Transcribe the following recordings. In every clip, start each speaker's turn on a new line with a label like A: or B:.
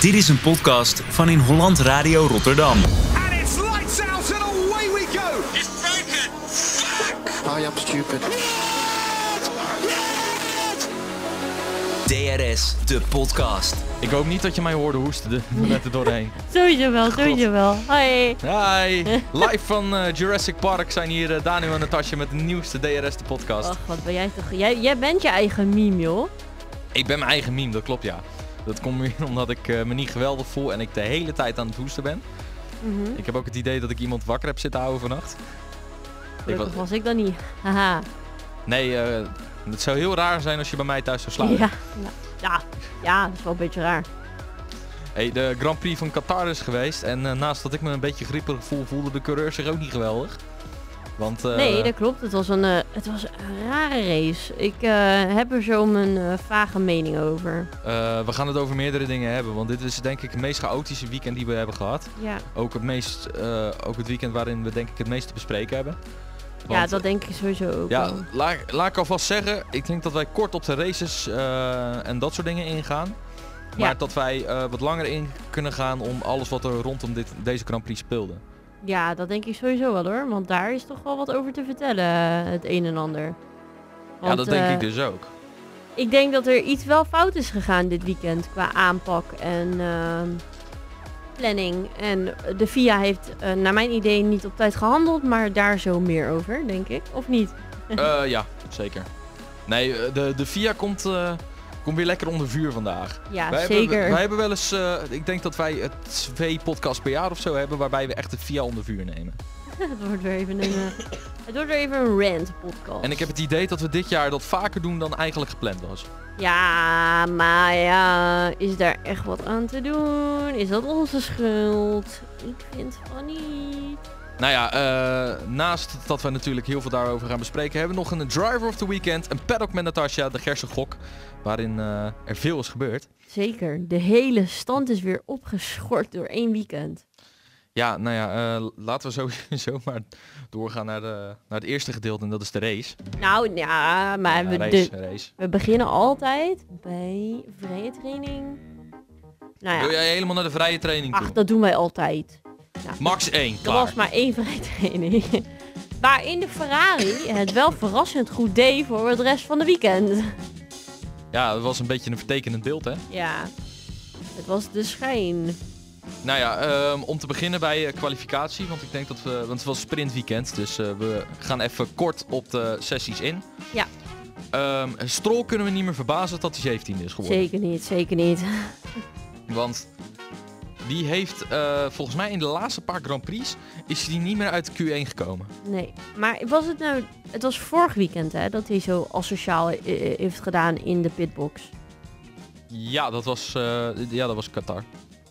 A: Dit is een podcast van in Holland Radio Rotterdam.
B: And it's lights out and away we go.
C: It's broken!
D: I am stupid.
A: DRS, de podcast.
E: Ik hoop niet dat je mij hoorde hoesten de- net er doorheen.
F: Sowieso wel, sowieso wel. Hoi.
E: Hi! Live van eh, Jurassic Park zijn hier eh, Daniel en Natasja met de nieuwste DRS de podcast.
F: Och, wat ben jij toch... Jij, jij bent je eigen meme, joh.
E: Ik ben mijn eigen meme, dat klopt ja. Dat komt meer omdat ik eh, me niet geweldig voel en ik de hele tijd aan het hoesten ben.
F: Mhm.
E: Ik heb ook het idee dat ik iemand wakker heb zitten houden vannacht. Ik
F: Gelukkig
E: was,
F: was ik dan niet. Haha.
E: nee, eh, het zou heel raar zijn als je bij mij thuis zou slapen.
F: Ja, nou, ja, ja, dat is wel een beetje raar.
E: Hey, de Grand Prix van Qatar is geweest en eh, naast dat ik me een beetje grieperig voel, voelde de coureur zich ook niet geweldig. Want, eh,
F: Nee, dat klopt. Het was een, eh, het was een rare race. Ik eh, heb er zo mijn eh, vage mening over.
E: Eh, we gaan het over meerdere dingen hebben, want dit is denk ik het meest chaotische weekend die we hebben gehad.
F: Ja,
E: Ook het, meest, eh, ook het weekend waarin we denk ik het meest te bespreken hebben.
F: ja
E: Want, eh,
F: dat denk ik sowieso ook
E: ja,
F: wel.
E: laat, laat ik alvast zeggen, ik denk dat wij kort op de races eh, en dat soort dingen ingaan. Maar
F: Ja.
E: dat wij eh, wat langer in kunnen gaan om alles wat er rondom dit, deze Grand Prix speelde.
F: Ja, dat denk ik sowieso wel hoor. Want daar is toch wel wat over te vertellen, eh, het een en ander.
E: ja,
F: Want,
E: dat denk
F: eh,
E: ik dus ook.
F: Ik denk dat er iets wel fout is gegaan dit weekend qua aanpak en ehm, planning. En de FIA heeft eh, naar mijn idee niet op tijd gehandeld, maar daar zo meer over, denk ik. Of niet?
E: Eh, ja, zeker. Nee, eh, de, de VIA komt, eh, komt weer lekker onder vuur vandaag.
F: Ja,
E: wij
F: zeker.
E: Hebben, wij hebben wel eens, eh, ik denk dat wij het twee podcasts per jaar of zo hebben waarbij we echt het via onder vuur nemen.
F: het wordt weer even een, eh, het wordt weer even een rant podcast.
E: En ik heb het idee dat we dit jaar dat vaker doen dan eigenlijk gepland was.
F: Ja, maar ja, is daar echt wat aan te doen? Is dat onze schuld? Ik vind van niet.
E: Nou ja, eh, naast dat we natuurlijk heel veel daarover gaan bespreken, hebben we nog een Driver of the Weekend, een paddock met Natasja, de Gerse Gok, waarin eh, er veel is gebeurd.
F: Zeker, de hele stand is weer opgeschort door één weekend.
E: Ja, nou ja, eh, laten we sowieso maar doorgaan naar, de, naar het eerste gedeelte en dat is de race.
F: Nou ja, maar
E: Ja, eh,
F: we,
E: race,
F: de,
E: race.
F: We beginnen altijd bij vrije training. Nou
E: Wil
F: ja,
E: jij helemaal naar de vrije training toe?
F: ach, dat doen wij altijd.
E: Max 1,
F: Er
E: klaar.
F: was maar één vrije training. Waarin de Ferrari het wel verrassend goed deed voor het rest van de weekend.
E: Ja, dat was een beetje een vertekenend beeld, hè?
F: Ja, het was de schijn.
E: Nou ja, ehm, om te beginnen bij eh, kwalificatie, want ik denk dat we... Want het was sprintweekend, dus eh, we gaan even kort op de sessies in.
F: Ja.
E: Ehm Strol kunnen we niet meer verbazen dat hij 17 is geworden.
F: Zeker niet, zeker niet.
E: Want die heeft eh, volgens mij in de laatste paar Grand Prix is hij niet meer uit de Q1 gekomen.
F: Nee, maar was het nou... Het was vorig weekend hè, dat hij zo asociaal eh, eh, heeft gedaan in de pitbox.
E: Ja, dat was, eh, ja, dat was Qatar.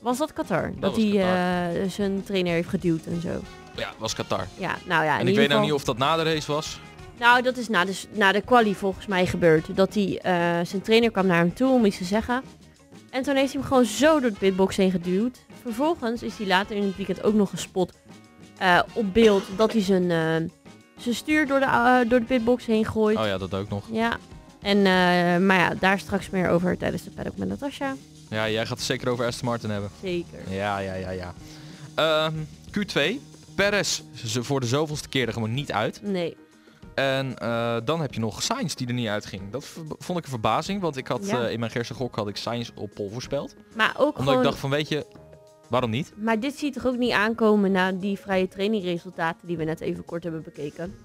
F: Was dat Qatar? Dat,
E: was
F: hij eh, zijn trainer heeft geduwd en zo.
E: Ja, dat was Qatar.
F: Ja, nou ja. In
E: en ik
F: ieder
E: weet nou
F: geval...
E: niet of dat na de race was.
F: Nou, dat is na de, na de quali volgens mij gebeurd. Dat hij, eh, zijn trainer kwam naar hem toe om iets te zeggen. En toen heeft hij hem gewoon zo door de pitbox heen geduwd. Vervolgens is hij later in het weekend ook nog gespot eh, op beeld dat hij zijn, eh, zijn stuur door de, eh, door de pitbox heen gooit.
E: Oh ja, dat ook nog.
F: Ja. En, eh, maar ja, daar straks meer over tijdens de paddock met Natasha.
E: Ja, jij gaat het zeker over Aston Martin hebben.
F: Zeker.
E: Ja, ja, ja, ja. Ehm, Q2. Perez ze voor de zoveelste keer er gewoon niet uit.
F: Nee.
E: En eh, dan heb je nog Sainz die er niet uitging. Dat v- vond ik een verbazing, want ik had
F: Ja.
E: eh, in mijn gerste gok had ik Sainz op pol voorspeld. Omdat
F: Maar ook
E: ik
F: gewoon...
E: dacht van weet je, waarom niet?
F: Maar dit ziet toch ook niet aankomen na die vrije trainingresultaten die we net even kort hebben bekeken.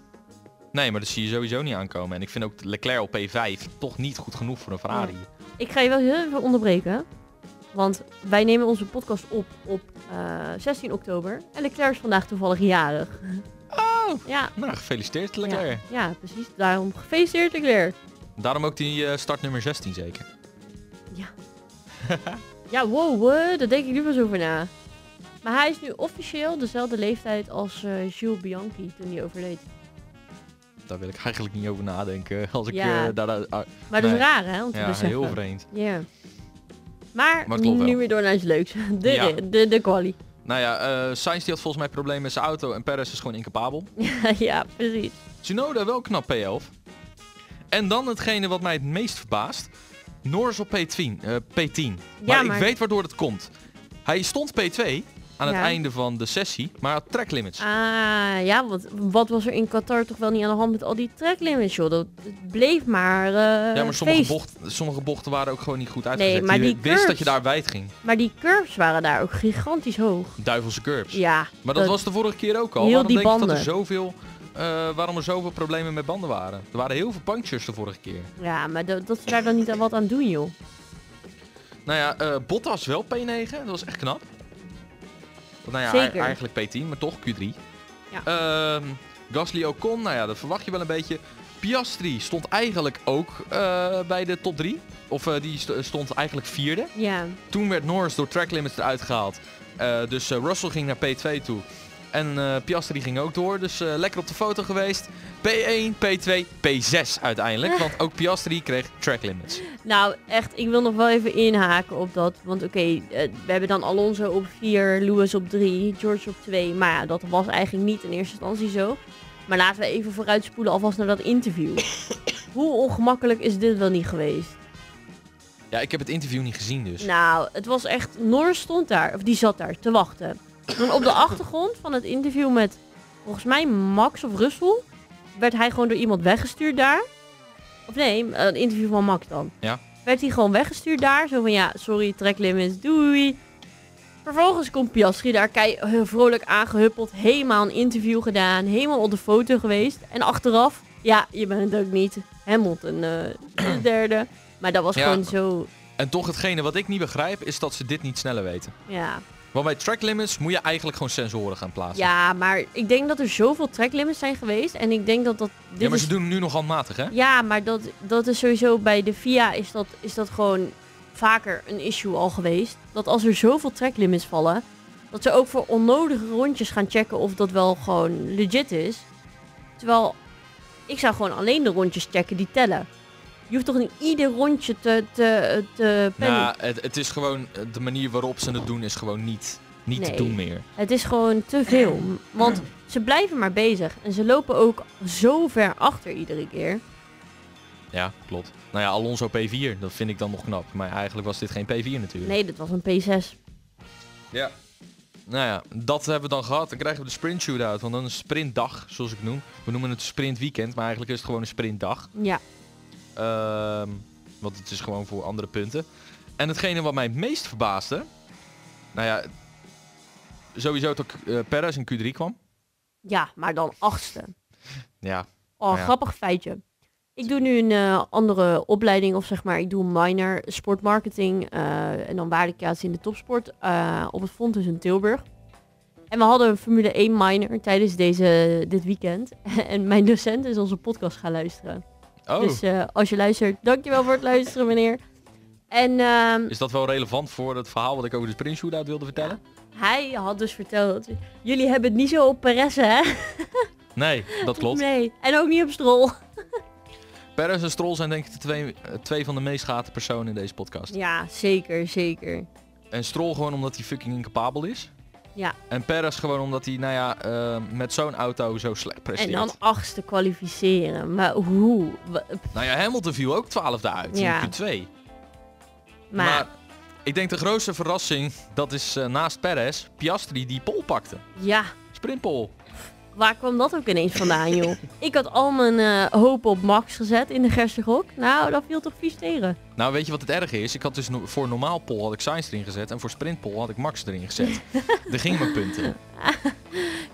E: Nee, maar dat zie je sowieso niet aankomen. En ik vind ook Leclerc op P5 toch niet goed genoeg voor een Ferrari.
F: Ik ga je wel heel even onderbreken. Want wij nemen onze podcast op op eh, 16 oktober. En Leclerc is vandaag toevallig jarig.
E: Oh!
F: Ja.
E: Nou, gefeliciteerd Leclerc.
F: Ja, ja, precies. Daarom gefeliciteerd Leclerc.
E: Daarom ook die eh, start nummer 16 zeker.
F: Ja, wow, eh, daar denk ik nu wel eens over na. Maar hij is nu officieel dezelfde leeftijd als eh Jules Bianchi toen hij overleed.
E: Daar wil ik eigenlijk niet over nadenken. Als ik
F: Ja. dus
E: eh, daar... ah,
F: Maar dat is
E: Nee.
F: raar hè, om te
E: ja,
F: beseffen.
E: heel vreemd.
F: Ja. Maar,
E: Maar het klopt wel.
F: nu weer door naar iets leuks. De,
E: Ja.
F: de, de quali.
E: Nou ja, eh Sainz die had volgens mij problemen met zijn auto en Perez is gewoon incapabel.
F: ja, precies.
E: Tsunoda wel knap P11. En dan hetgene wat mij het meest verbaast. Norris op P10. eh, P10.
F: Ja,
E: maar,
F: maar-
E: ik weet waardoor het komt. Hij stond P2 aan het
F: Ja.
E: einde van de sessie, maar had track limits.
F: Ah, ja, want wat was er in Qatar toch wel niet aan de hand met al die tracklimits, joh. Dat het bleef maar eh
E: ja, maar sommige,
F: feest.
E: bocht, sommige bochten waren ook gewoon niet goed uitgezet.
F: maar
E: je
F: die
E: wist
F: curves-
E: dat je daar wijd ging.
F: Maar die curves waren daar ook gigantisch hoog.
E: Duivelse curves.
F: Ja.
E: Maar dat was de vorige keer ook al.
F: Heel
E: waarom
F: die
E: denk je dat er
F: banden.
E: zoveel, eh, waarom er zoveel problemen met banden waren? Er waren heel veel punctures de vorige keer.
F: Ja, maar dat, dat ze daar dan niet aan wat aan doen, joh.
E: Nou ja, eh, Bottas wel P9. Dat was echt knap. Want nou ja,
F: Zeker.
E: ei- eigenlijk P10, maar toch Q3.
F: Ja.
E: Ehm, Gasly Ocon, nou ja, dat verwacht je wel een beetje. Piastri stond eigenlijk ook eh, bij de top 3. Of eh, die st- stond eigenlijk vierde.
F: Ja.
E: Toen werd Norris door track limits eruit gehaald. Eh, dus eh, Russell ging naar P2 toe. En eh, Piastri ging ook door. Dus eh, lekker op de foto geweest. P1, P2, P6 uiteindelijk. Want ook Piastri kreeg track limits.
F: Nou, echt, ik wil nog wel even inhaken op dat. Want oké, eh, we hebben dan Alonso op 4, Lewis op 3, George op 2. Maar ja, dat was eigenlijk niet in eerste instantie zo. Maar laten we even vooruitspoelen alvast naar dat interview. Hoe ongemakkelijk is dit wel niet geweest?
E: Ja, ik heb het interview niet gezien dus.
F: Nou, het was echt... Norris stond daar, of die zat daar, te wachten. En op de achtergrond van het interview met, volgens mij, Max of Russell... werd hij gewoon door iemand weggestuurd daar. Of nee, een interview van Max dan.
E: Ja.
F: Werd hij gewoon weggestuurd daar. Zo van, ja, sorry, track limits, doei. Vervolgens komt Piastri daar kei heel vrolijk aangehuppeld. Helemaal een interview gedaan. Helemaal op de foto geweest. En achteraf, ja, je bent het ook niet. Hamilton, eh de derde. Maar dat was
E: Ja.
F: gewoon zo...
E: En toch hetgene wat ik niet begrijp is dat ze dit niet sneller weten.
F: Ja.
E: Want bij track limits moet je eigenlijk gewoon sensoren gaan plaatsen.
F: ja, maar ik denk dat er zoveel tracklimits zijn geweest. En ik denk dat dat... Dit
E: Ja, maar
F: is-
E: ze doen het nu nog handmatig hè?
F: Ja, maar dat, dat is sowieso bij de VIA is dat, is dat gewoon vaker een issue al geweest. Dat als er zoveel tracklimits vallen, dat ze ook voor onnodige rondjes gaan checken of dat wel gewoon legit is. Terwijl ik zou gewoon alleen de rondjes checken die tellen. Je hoeft toch niet ieder rondje te, te, te pen-
E: Nou, het, het is gewoon eh, de manier waarop ze het doen is gewoon niet, niet te
F: Nee.
E: doen meer.
F: Het is gewoon te veel. Want ze blijven maar bezig. En ze lopen ook zo ver achter iedere keer.
E: Ja, klopt. Nou ja, Alonso P4, dat vind ik dan nog knap. Maar eigenlijk was dit geen P4 natuurlijk.
F: Nee, dat was een P6.
E: Ja. Nou ja, dat hebben we dan gehad. Dan krijgen we de sprint shootout. Want dan een sprintdag, zoals ik het noem. We noemen het sprint weekend, maar eigenlijk is het gewoon een sprintdag.
F: Ja.
E: Ehm, want het is gewoon voor andere punten. En hetgene wat mij het meest verbaasde... Nou ja, sowieso dat eh Perez in Q3 kwam.
F: Ja, maar dan achtste.
E: Ja,
F: Oh,
E: Ja.
F: grappig feitje. Ik doe nu een eh, andere opleiding, of zeg maar, ik doe een minor sportmarketing eh, en dan waardecreatie in de topsport eh, op het Fontes in Tilburg. En we hadden een Formule 1 minor tijdens deze, dit weekend. en mijn docent is onze podcast gaan luisteren.
E: Oh,
F: Dus eh, als je luistert, dankjewel voor het luisteren meneer. En ehm,
E: is dat wel relevant voor het verhaal wat ik over de sprint shootout wilde vertellen?
F: hij had dus verteld, jullie hebben het niet zo op Perez hè?
E: Nee, dat klopt.
F: Nee, en ook niet op Strol.
E: Perez en Stroll zijn denk ik de twee, eh, twee van de meest gehate personen in deze podcast.
F: Ja, zeker, zeker.
E: En Stroll gewoon omdat hij fucking incapabel is.
F: Ja.
E: En Perez gewoon omdat hij, nou ja, eh, met zo'n auto zo slecht presteert.
F: En dan achtste kwalificeren. Maar hoe? Wa-
E: Nou ja, Hamilton viel ook twaalfde uit
F: Ja.
E: in Q2.
F: Maar,
E: ik denk de grootste verrassing, dat is eh, naast Perez, Piastri die pol pakte.
F: ja,
E: Sprintpol.
F: waar kwam dat ook ineens vandaan, joh? Ik had al mijn eh hoop op Max gezet in de Gerstengok. Nou, dat viel toch vies tegen.
E: Nou, weet je wat het erge is? Ik had dus no- voor normaal pol had ik Sainz erin gezet en voor sprintpol had ik Max erin gezet. Er gingen mijn punten.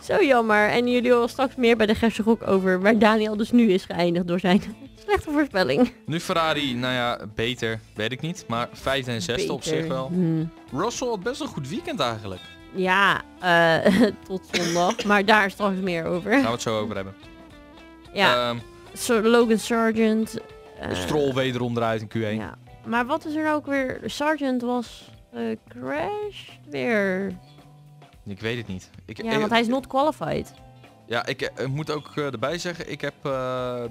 F: Zo jammer. En jullie horen straks meer bij de Gerstengok over waar Daniel dus nu is geëindigd door zijn slechte voorspelling.
E: Nu Ferrari, nou ja, beter, weet ik niet. Maar vijfde en zesde op
F: Beter.
E: zich wel.
F: Hmm.
E: Russell had best een goed weekend eigenlijk.
F: Ja, eh, tot zondag. Maar daar straks meer over.
E: Gaan we het zo over hebben.
F: Ja,
E: Ehm,
F: Sir Logan Sargent. eh,
E: Stroll wederom eruit in Q1.
F: Ja. Maar wat is er nou ook weer? Sergeant was eh crashed weer.
E: Ik weet het niet. Ik,
F: Ja,
E: eh,
F: want hij is not qualified.
E: ja, ik eh, moet ook eh, erbij zeggen, ik heb eh,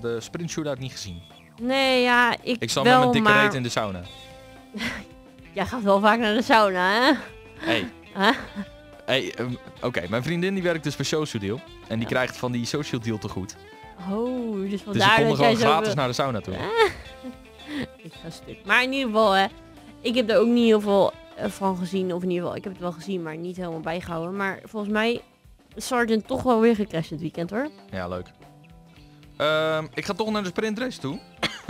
E: de sprint shootout niet gezien.
F: Nee, ja, ik,
E: Ik zat
F: wel,
E: met mijn dikke
F: maar...
E: reet in de sauna.
F: Jij gaat wel vaak naar de sauna, hè?
E: Hey.
F: Huh?
E: Hey, ehm, Oké, mijn vriendin die werkt dus bij Social Deal. En die krijgt van die Social Deal te goed.
F: Oh, dus
E: Dus ik
F: vandaar
E: kon er
F: dat jij
E: gewoon
F: zo...
E: gratis naar de sauna toe.
F: Ik ga stuk. Maar in ieder geval, hè, ik heb er ook niet heel veel eh, van gezien. Of in ieder geval, ik heb het wel gezien, maar niet helemaal bijgehouden. Maar volgens mij is Sargent toch wel weer gecrashed dit weekend hoor.
E: Ja, leuk. Ehm, ik ga toch naar de sprintrace toe.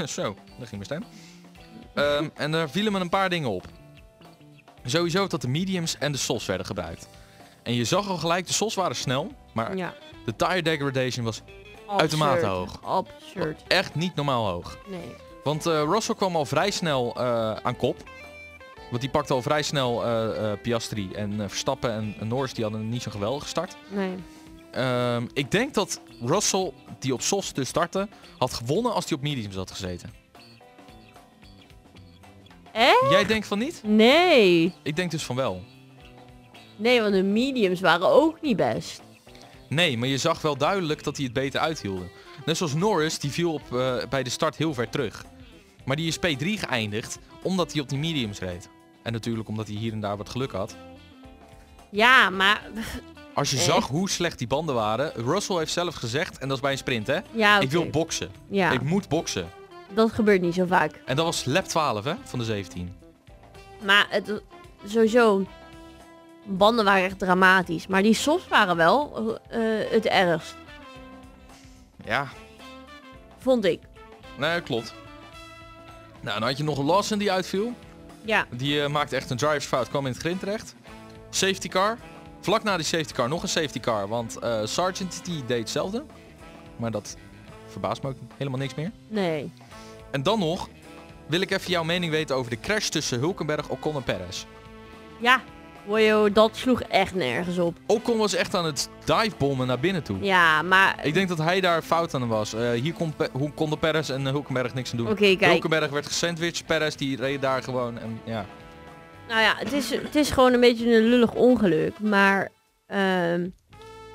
E: Zo, daar ging mijn stem. Ehm, en daar vielen me een paar dingen op. Sowieso dat de mediums en de sols werden gebruikt. En je zag al gelijk, de sols waren snel, maar
F: Ja.
E: de tire degradation was Uitermate
F: Absurd.
E: hoog.
F: Absurd.
E: echt niet normaal hoog.
F: Nee.
E: Want eh, Russell kwam al vrij snel eh, aan kop. Want die pakte al vrij snel eh, eh, Piastri en eh, Verstappen en, en Norris, die hadden niet zo'n geweldige start.
F: Nee.
E: Ehm, ik denk dat Russell, die op SOS dus startte, had gewonnen als hij op mediums had gezeten.
F: Echt?
E: Jij denkt van niet?
F: Nee.
E: Ik denk dus van wel.
F: Nee, want de mediums waren ook niet best.
E: Nee, maar je zag wel duidelijk dat hij het beter uithielde. Net zoals Norris, die viel op, eh, bij de start heel ver terug. Maar die is P3 geëindigd omdat hij op die mediums reed. En natuurlijk omdat hij hier en daar wat geluk had.
F: Ja, maar...
E: Als je
F: Eh.
E: zag hoe slecht die banden waren, Russell heeft zelf gezegd, en dat is bij een sprint hè,
F: Ja,
E: ik
F: oké.
E: wil boksen.
F: Ja,
E: Ik moet boksen.
F: dat gebeurt niet zo vaak.
E: En dat was lap 12 hè, van de 17.
F: Maar het, sowieso, banden waren echt dramatisch. Maar die softs waren wel eh, het ergst,
E: Ja,
F: vond ik.
E: Nee, klopt. Nou, dan had je nog een Lawson die uitviel.
F: Ja,
E: Die eh, maakte echt een driversfout, kwam in het grind terecht. Safety car. Vlak na die safety car nog een safety car, want eh Sargent die deed hetzelfde. Maar dat verbaast me ook helemaal niks meer.
F: nee.
E: En dan nog wil ik even jouw mening weten over de crash tussen Hulkenberg, Ocon en Perez.
F: Ja, wojo, dat sloeg echt nergens op.
E: Ocon was echt aan het divebommen naar binnen toe.
F: Ja, maar...
E: Ik denk dat hij daar fout aan was. Eh, hier kon, Pe- hoe konden Perez en eh, Hulkenberg niks aan doen.
F: Oké, kijk.
E: Hulkenberg werd gesandwiched, Perez die reed daar gewoon en ja.
F: Nou ja, het is, het is gewoon een beetje een lullig ongeluk. Maar ehm,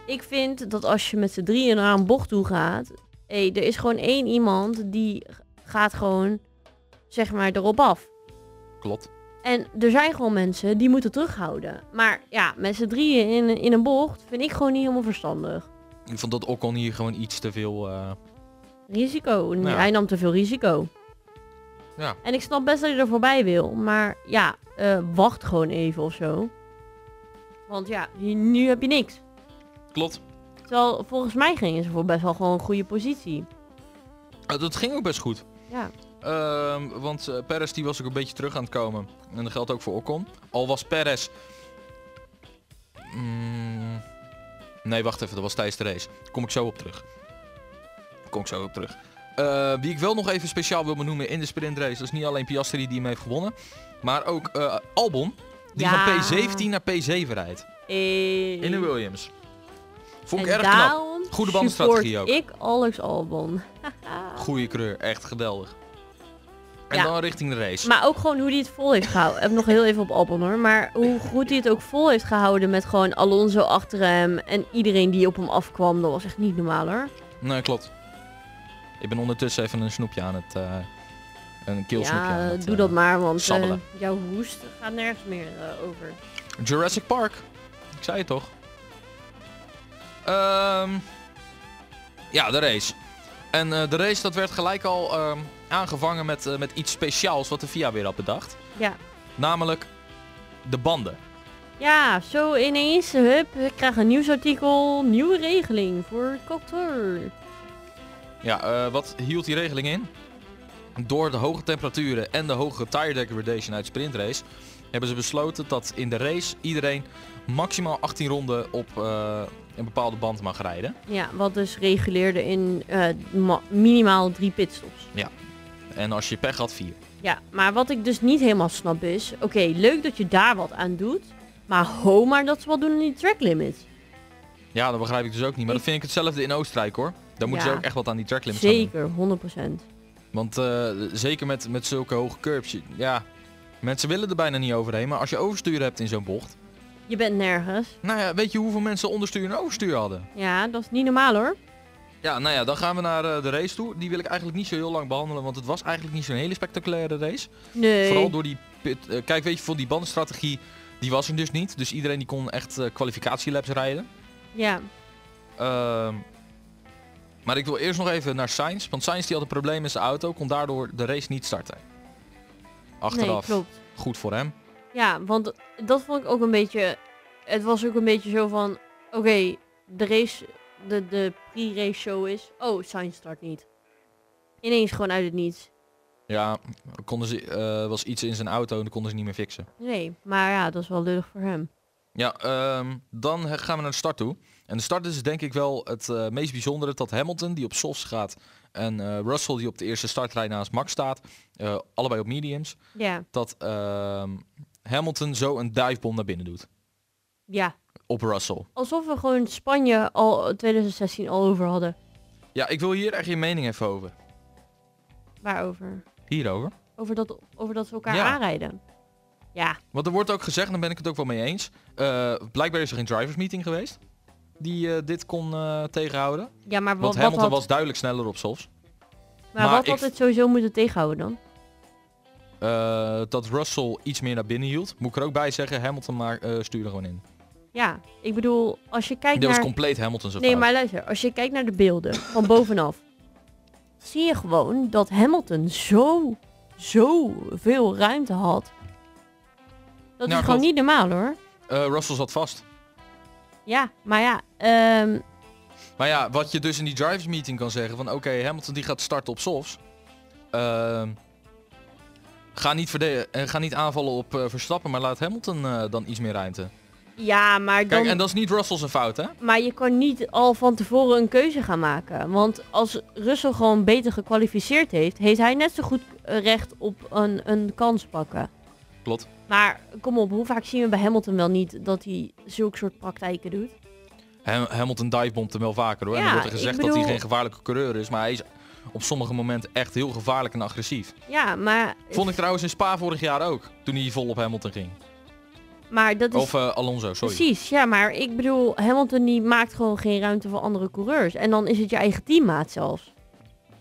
F: ik vind dat als je met z'n drieën naar een bocht toe gaat... Hé, er is gewoon één iemand die gaat gewoon, zeg maar, erop af.
E: Klopt.
F: En er zijn gewoon mensen die moeten terughouden. Maar ja, met z'n drieën in, in een bocht vind ik gewoon niet helemaal verstandig.
E: Ik vond dat Ocon hier gewoon iets te veel... eh,
F: Risico. Nee,
E: Ja.
F: Hij nam te veel risico.
E: Ja.
F: En ik snap best dat hij er voorbij wil. Maar ja, eh, wacht gewoon even of zo. Want ja, hier- nu heb je niks.
E: Klopt.
F: Terwijl volgens mij gingen ze voor best wel gewoon een goede positie.
E: Eh, dat ging ook best goed.
F: Ja.
E: Ehm, want eh, Perez die was ook een beetje terug aan het komen. En dat geldt ook voor Ocon. Al was Perez... Mm, nee, wacht even. Dat was tijdens de race. Kom ik zo op terug. Kom ik zo op terug. Eh, wie ik wel nog even speciaal wil benoemen in de sprintrace. Dat is niet alleen Piastri die hem heeft gewonnen. Maar ook eh, Albon. Die
F: Ja.
E: van P17 naar P7 rijdt.
F: Eh,
E: In de Williams. Vond ik
F: en
E: erg knap.
F: daarom
E: Goede
F: support
E: bandenstrategie ook.
F: ik Alex Albon.
E: Goeie kleur, echt geweldig. En
F: Ja.
E: dan richting de race.
F: Maar ook gewoon hoe hij het vol heeft gehouden. Ik heb nog heel even op Albon hoor. Maar hoe goed hij het ook vol heeft gehouden met gewoon Alonso achter hem. En iedereen die op hem afkwam. Dat was echt niet normaal hoor.
E: Nee, klopt. Ik ben ondertussen even een snoepje aan het... eh, een keelsnoepje aan
F: ja,
E: het,
F: doe
E: eh,
F: dat maar. Want eh,
E: sabbelen.
F: jouw hoest gaat nergens meer eh, over.
E: Jurassic Park. Ik zei het toch? Ehm, ja, de race. En eh, de race dat werd gelijk al ehm, aangevangen met, eh, met iets speciaals wat de VIA weer had bedacht.
F: Ja.
E: Namelijk de banden.
F: Ja, zo ineens. Hup, ik krijg een nieuwsartikel. Nieuwe regeling voor Coctor.
E: Ja, eh, wat hield die regeling in? Door de hoge temperaturen en de hoge tire degradation uit sprintrace hebben ze besloten dat in de race iedereen maximaal 18 ronden op eh, een bepaalde band mag rijden.
F: Ja, wat dus reguleerde in eh, ma- minimaal drie pitstops.
E: En als je pech had, 4.
F: Ja, maar wat ik dus niet helemaal snap is... Oké, leuk dat je daar wat aan doet. Maar ho maar dat ze wat doen in die track limits.
E: Ja, dat begrijp ik dus ook niet. Maar
F: Ik-
E: dat vind ik hetzelfde in Oostenrijk hoor. Daar moeten
F: Ja.
E: ze ook echt wat aan die tracklimits aan doen.
F: Zeker, 100%.
E: Want eh, zeker met, met zulke hoge curbs, je- ja, mensen willen er bijna niet overheen. Maar als je overstuur hebt in zo'n bocht,
F: Je bent nergens.
E: nou ja, weet je hoeveel mensen onderstuur en overstuur hadden?
F: Ja, dat is niet normaal hoor.
E: Ja, nou ja, dan gaan we naar eh, de race toe. Die wil ik eigenlijk niet zo heel lang behandelen, want het was eigenlijk niet zo'n hele spectaculaire race.
F: Nee.
E: Vooral door die pit, eh, kijk, weet je, voor die bandenstrategie, die was er dus niet. Dus iedereen die kon echt eh kwalificatielaps rijden.
F: Ja,
E: Ehm, Maar ik wil eerst nog even naar Sainz. Want Sainz die had een probleem in zijn auto. Kon daardoor de race niet starten. Achteraf.
F: Nee, klopt.
E: goed voor hem.
F: Ja, want dat- dat vond ik ook een beetje... Het was ook een beetje zo van... Oké, de race... De, de pre-race show is... Oh, Sainz start niet. Ineens gewoon uit het niets.
E: Ja, konden ze, eh, was iets in zijn auto en dat konden ze niet meer fixen.
F: Nee, maar ja, dat is wel lullig voor hem.
E: Ja, ehm, dan he- gaan we naar de start toe. En de start is denk ik wel het eh, meest bijzondere dat Hamilton die op softs gaat en eh, Russell die op de eerste startlijn naast Max staat, eh, allebei op mediums,
F: Ja,
E: dat ehm, Hamilton zo een divebom naar binnen doet
F: ja.
E: op Russell.
F: Alsof we gewoon Spanje al 2016 al over hadden.
E: Ja, ik wil hier echt je mening even over.
F: Waarover?
E: Hierover.
F: Over dat, over dat ze elkaar
E: Ja.
F: aanrijden. Ja,
E: Want er wordt ook gezegd, en daar ben ik het ook wel mee eens, eh, blijkbaar is er geen drivers meeting geweest die eh, dit kon eh, tegenhouden.
F: ja maar wat,
E: Want
F: wat
E: Hamilton
F: had,
E: was duidelijk sneller op softs.
F: maar
E: maar
F: wat
E: ik-
F: had het sowieso moeten tegenhouden dan?
E: Eh, dat Russell iets meer naar binnen hield. Moet ik er ook bij zeggen, Hamilton maar, eh, stuurde gewoon in.
F: Ja, ik bedoel, als je kijkt
E: Dit was
F: naar...
E: compleet Hamilton's fout.
F: Nee, maar luister, als je kijkt naar de beelden van bovenaf, zie je gewoon dat Hamilton zo, zo veel ruimte had. Dat
E: Nou,
F: is gewoon
E: klopt.
F: niet normaal hoor.
E: Eh, Russell zat vast.
F: Ja, maar ja, ehm,
E: Maar ja, wat je dus in die drivers meeting kan zeggen van oké, Hamilton die gaat starten op softs. Ehm, ga, niet verde- eh, ga niet aanvallen op eh, Verstappen, maar laat Hamilton eh, dan iets meer ruimte.
F: ja, maar dan...
E: Kijk, en dat is niet Russell zijn fout hè?
F: Maar je kan niet al van tevoren een keuze gaan maken. Want als Russell gewoon beter gekwalificeerd heeft, heeft hij net zo goed eh, recht op een, een kans pakken.
E: Klopt.
F: Maar kom op, hoe vaak zien we bij Hamilton wel niet dat hij zulke soort praktijken doet?
E: Ham- Hamilton divebombt hem wel vaker hoor. en
F: Ja,
E: dan wordt er
F: ik
E: gezegd dat
F: bedoel-
E: hij geen gevaarlijke coureur is, maar hij is op sommige momenten echt heel gevaarlijk en agressief.
F: Ja, maar,
E: Vond ik trouwens in Spa vorig jaar ook, toen hij vol op Hamilton ging.
F: maar dat is
E: Of eh, Alonso, sorry.
F: Dus- precies. Ja, maar ik bedoel, Hamilton die maakt gewoon geen ruimte voor andere coureurs. En dan is het je eigen teammaat zelfs.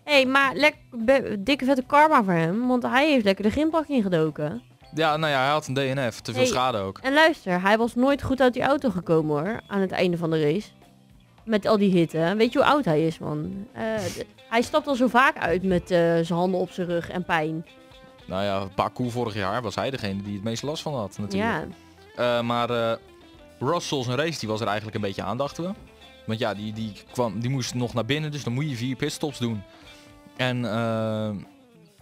F: Hé, hey, maar lek, be- dikke vette karma voor hem, want hij heeft lekker de gympak ingedoken.
E: Ja, nou ja, hij had een DNF. Te veel
F: Hey.
E: schade ook.
F: En luister, hij was nooit goed uit die auto gekomen hoor, aan het einde van de race. Met al die hitte. Weet je hoe oud hij is, man? Eh, d- hij stapt al zo vaak uit met eh, zijn handen op zijn rug en pijn.
E: Nou ja, Baku vorig jaar was hij degene die het meest last van had natuurlijk.
F: Ja,
E: Eh, maar eh Russell's race die was er eigenlijk een beetje aan, dachten we. Want ja, die, die, kwam, die moest nog naar binnen, dus dan moet je vier pitstops doen. En, eh,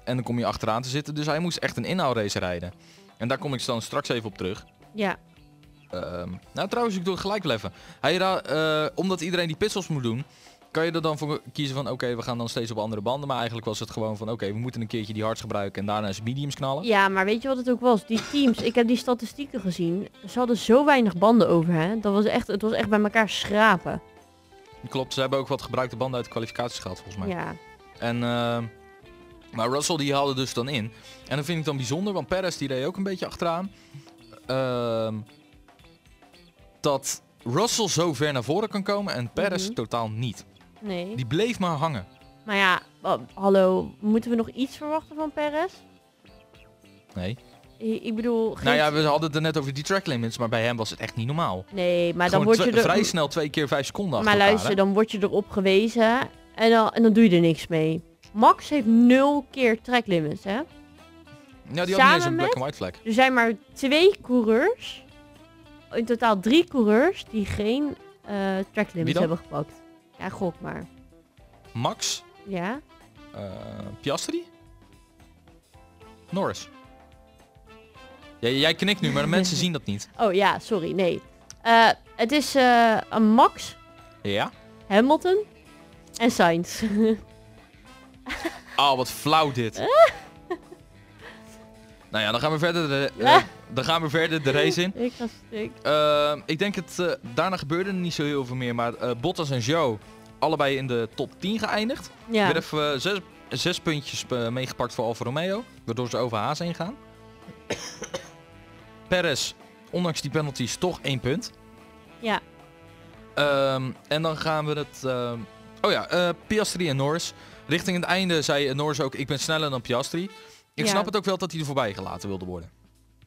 E: en dan kom je achteraan te zitten. Dus hij moest echt een inhaalrace rijden. En daar kom ik dan straks even op terug.
F: ja,
E: Ehm, nou, trouwens, ik doe het gelijk wel even. Hij ra- eh, omdat iedereen die pitstops moet doen, kan je er dan voor kiezen van... Oké, we gaan dan steeds op andere banden. Maar eigenlijk was het gewoon van... Oké, we moeten een keertje die hards gebruiken en daarna eens mediums knallen.
F: ja, maar weet je wat het ook was? Die teams, ik heb die statistieken gezien. Ze hadden zo weinig banden over, hè? Dat was echt, het was echt bij elkaar schrapen.
E: Klopt, ze hebben ook wat gebruikte banden uit de kwalificaties gehad, volgens mij.
F: Ja,
E: En, ehm, maar Russell die haalde dus dan in. En dat vind ik dan bijzonder, want Perez die reed ook een beetje achteraan. Ehm, dat Russell zo ver naar voren kan komen en Perez
F: Mhm.
E: totaal niet.
F: nee.
E: Die bleef maar hangen.
F: Maar ja, wa- hallo, moeten we nog iets verwachten van Perez?
E: Nee.
F: I- Ik bedoel, geen...
E: Nou ja, we hadden het er net over die track limits, maar bij hem was het echt niet normaal.
F: nee, maar dan
E: Gewoon
F: word je
E: twe-
F: er...
E: vrij snel twee keer vijf seconden achter
F: Maar
E: elkaar,
F: luister,
E: hè?
F: dan word je erop gewezen en dan, en dan doe je er niks mee. Max heeft nul keer track limits, hè?
E: Ja, die had niet eens een
F: samen
E: black and white flag.
F: Er zijn maar twee coureurs, in totaal drie coureurs, die geen eh track limits
E: dan?
F: hebben gepakt. Ja, gok maar.
E: Max,
F: Ja?
E: eh, Piastri, Norris. Ja, jij knikt nu, maar de mensen zien dat niet.
F: Oh ja, sorry, nee. Eh, het is eh, een Max,
E: Ja?
F: Hamilton en Sainz.
E: Oh, wat flauw dit. nou ja, dan gaan we verder de, eh,
F: Ja.
E: dan gaan we verder de race in.
F: Ik ga stuk.
E: Ehm, ik denk het, eh, daarna gebeurde er niet zo heel veel meer, maar eh, Bottas en Joe allebei in de top 10 geëindigd.
F: Ja.
E: Weer even eh, zes, zes puntjes eh, meegepakt voor Alfa Romeo, waardoor ze over Haas heen gaan. Perez, ondanks die penalties, toch één punt.
F: Ja.
E: Ehm, en dan gaan we het... ehm, oh ja, eh, Piastri en Norris. Richting het einde zei eh, Norris ook, ik ben sneller dan Piastri. Ik
F: Ja.
E: snap het ook wel dat hij er voorbij gelaten wilde worden.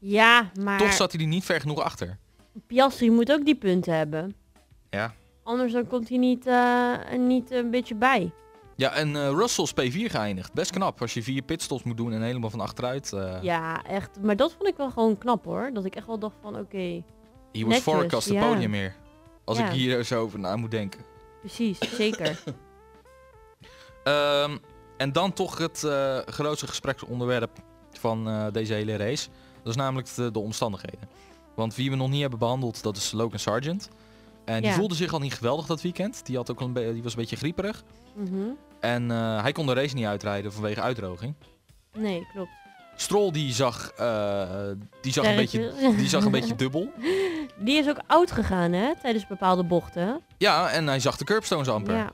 F: ja, maar
E: Toch zat hij er niet ver genoeg achter.
F: Piastri moet ook die punten hebben.
E: Ja.
F: Anders dan komt hij niet, eh, niet een beetje bij.
E: Ja, en eh, Russell is P4 geëindigd. Best knap als je vier pitstops moet doen en helemaal van achteruit. eh
F: Ja, echt. Maar dat vond ik wel gewoon knap hoor. Dat ik echt wel dacht van oké,
E: He was
F: netjes,
E: forecast het
F: ja.
E: podium meer. Als
F: Ja.
E: ik hier zo over na moet denken.
F: precies, zeker.
E: Ehm, en dan toch het eh, grootste gespreksonderwerp van eh, deze hele race. Dat is namelijk de, de omstandigheden. Want wie we nog niet hebben behandeld, dat is Logan Sargent. En die
F: Ja.
E: voelde zich al niet geweldig dat weekend. Die, had ook al een be- die was een beetje grieperig.
F: Mhm.
E: En eh, hij kon de race niet uitrijden vanwege uitdroging.
F: Nee, klopt.
E: Strol die zag, eh, die zag, een, beetje,
F: Sterretjes.
E: die zag een beetje dubbel.
F: Die is ook oud gegaan hè, tijdens bepaalde bochten.
E: Ja, en hij zag de curbstones amper.
F: Ja,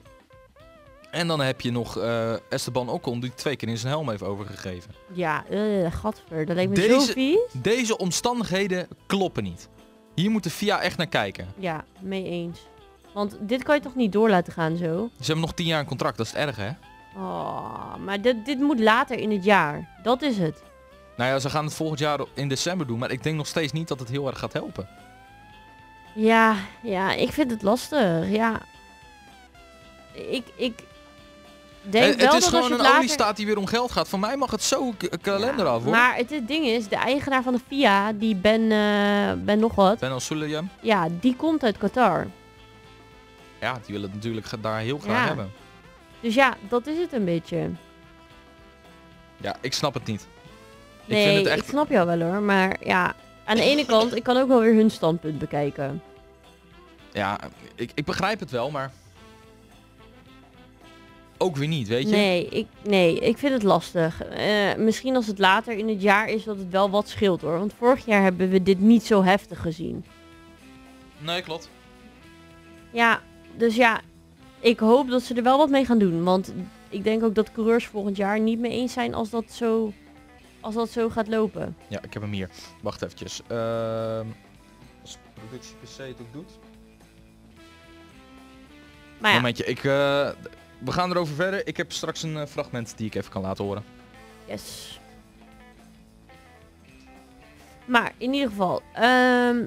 E: En dan heb je nog eh, Esteban Ocon die twee keer in zijn helm heeft overgegeven.
F: ja eh, gadver. Dat leek me
E: Deze-
F: zo vies.
E: Deze omstandigheden kloppen niet. Hier moet de FIA echt naar kijken.
F: Ja, mee eens. Want dit kan je toch niet door laten gaan zo?
E: Ze hebben nog tien jaar een contract, dat is het erg hè?
F: Oh, maar dit, dit moet later in het jaar. Dat is het.
E: Nou ja, ze gaan het volgend jaar in december doen, maar ik denk nog steeds niet dat het heel erg gaat helpen.
F: Ja, ja, ik vind het lastig. Ja. Ik, ik denk
E: Eh, het,
F: wel
E: het is
F: dat als
E: gewoon
F: je
E: een
F: het later...
E: oliestaat die weer om geld gaat. Voor mij mag het zo k- kalender af hoor.
F: Maar het, het ding is, de eigenaar van de FIA, die Ben, eh, ben nog wat,
E: Ben al Sulayem,
F: ja, die komt uit Qatar.
E: ja, die willen het natuurlijk gra- daar heel graag
F: Ja.
E: hebben.
F: Dus ja, dat is het een beetje.
E: Ja, ik snap het niet.
F: Nee,
E: ik
F: ik,
E: vind het echt
F: snap jou wel hoor, maar ja, aan de ene kant, ik kan ook wel weer hun standpunt bekijken.
E: Ja, ik, ik begrijp het wel, maar... Ook weer niet, weet je?
F: Nee ik, nee, ik vind het lastig. Eh, misschien als het later in het jaar is dat het wel wat scheelt hoor. Want vorig jaar hebben we dit niet zo heftig gezien.
E: Nee, klopt.
F: Ja, dus ja, ik hoop dat ze er wel wat mee gaan doen. Want ik denk ook dat coureurs volgend jaar niet mee eens zijn als dat zo, als dat zo gaat lopen.
E: Ja, ik heb hem hier. Wacht eventjes. Ehm, als productie PC het ook doet.
F: Maar Ah, ja,
E: Momentje, ik, eh, d- we gaan erover verder. Ik heb straks een eh, fragment die ik even kan laten horen.
F: yes. Maar in ieder geval, ehm,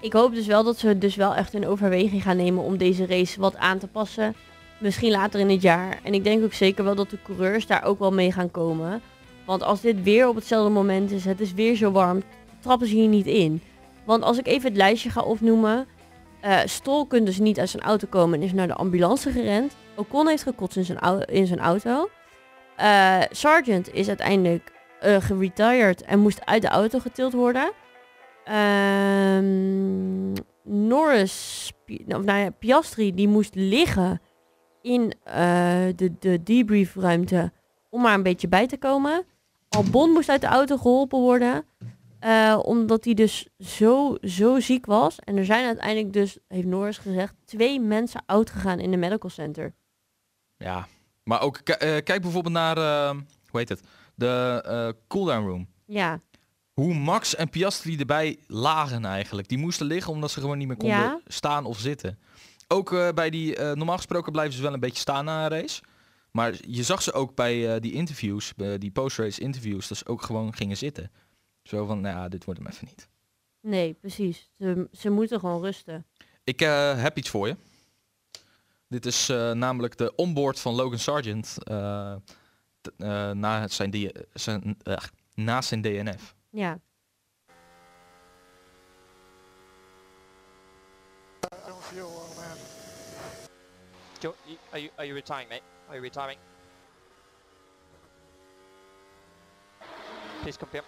F: ik hoop dus wel dat ze dus wel echt een overweging gaan nemen om deze race wat aan te passen. Misschien later in het jaar. En ik denk ook zeker wel dat de coureurs daar ook wel mee gaan komen. Want als dit weer op hetzelfde moment is, het is weer zo warm, trappen ze hier niet in. Want als ik even het lijstje ga opnoemen. eh Stol kan dus niet uit zijn auto komen en is naar de ambulance gerend. Ocon heeft gekotst in zijn, au- in zijn auto. Eh, Sargent is uiteindelijk eh, geretired en moest uit de auto getild worden. Ehm, Norris, Pi- nou, nou ja, Piastri, die moest liggen in eh, de, de debriefruimte om maar een beetje bij te komen. Albon moest uit de auto geholpen worden, eh, omdat hij dus zo, zo ziek was. En er zijn uiteindelijk dus, heeft Norris gezegd, twee mensen oud gegaan in de medical center.
E: Ja. Maar ook, ki- eh, kijk bijvoorbeeld naar, ehm, hoe heet het? De eh, cooldown room.
F: Ja,
E: Hoe Max en Piastri erbij lagen eigenlijk. Die moesten liggen omdat ze gewoon niet meer konden
F: Ja.
E: staan of zitten. Ook eh, bij die, eh, normaal gesproken blijven ze wel een beetje staan na een race. Maar je zag ze ook bij eh, die interviews, bij die post-race interviews, dat ze ook gewoon gingen zitten. Zo van, nou ja, dit wordt hem even niet.
F: nee, precies. Ze, ze moeten gewoon rusten.
E: Ik eh, heb iets voor je. Dit is eh, namelijk de onboard van Logan Sargent eh, t- eh, na, zijn die, zijn, eh, na zijn DNF.
F: Ja.
D: I don't feel well, man.
C: Jo- you- Are you, are you retiring, mate? Are you retiring? Please confirm.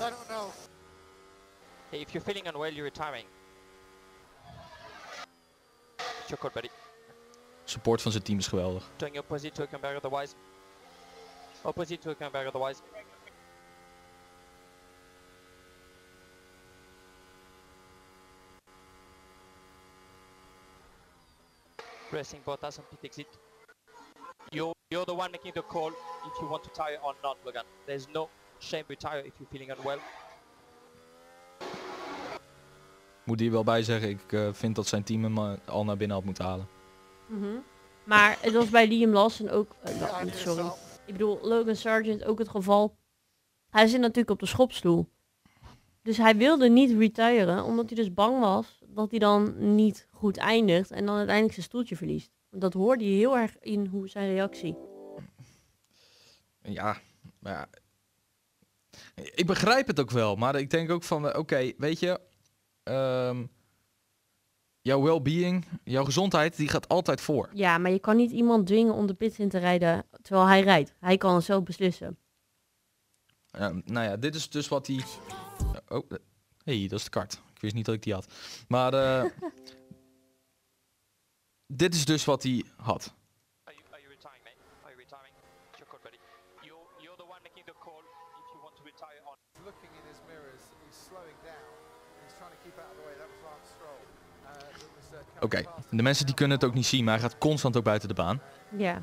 D: I don't know.
C: Hey, if you're feeling unwell, you're retiring. It's your code, buddy.
E: Support van zijn team is geweldig.
C: Turn your opposite to a conveyor otherwise. Opposite to a conveyor otherwise. Pressing Bottas on pit exit. You're, you're the one making the call if you want to tire or not, Logan. There's no shame retire if you're feeling unwell.
E: Moet hier wel bij zeggen, ik eh, vind dat zijn team hem eh, al naar binnen had moeten halen.
F: Mhm. Maar het was bij Liam Lawson ook... eh,
D: I
F: Lawson,
D: need
F: sorry.
D: help.
F: Ik bedoel, Logan Sargent ook het geval. Hij zit natuurlijk op de schopstoel. Dus hij wilde niet retiren, omdat hij dus bang was dat hij dan niet goed eindigt en dan uiteindelijk zijn stoeltje verliest. Want dat hoorde je heel erg in hoe zijn reactie.
E: Ja, maar ja. Ik begrijp het ook wel, maar ik denk ook van, eh, oké, weet je, ehm, jouw well-being, jouw gezondheid, die gaat altijd voor.
F: Ja, maar je kan niet iemand dwingen om de pits in te rijden terwijl hij rijdt. Hij kan het zelf beslissen.
E: Eh, nou ja, dit is dus wat die... Oh, eh, hey, dat is de kart. Ik wist niet dat ik die had. Maar eh, dit is dus wat hij had.
C: Are you, are you retiring, mate? Are you retiring? It's your call, buddy. You're, you're the one making the call if you want to retire or
D: He's looking in his mirrors. He's slowing down. He's trying to keep out of the way. That was Lance Stroll. Uh, that was, uh,
E: Oké, de mensen die kunnen het ook niet zien, maar hij gaat constant ook buiten de baan.
F: Ja.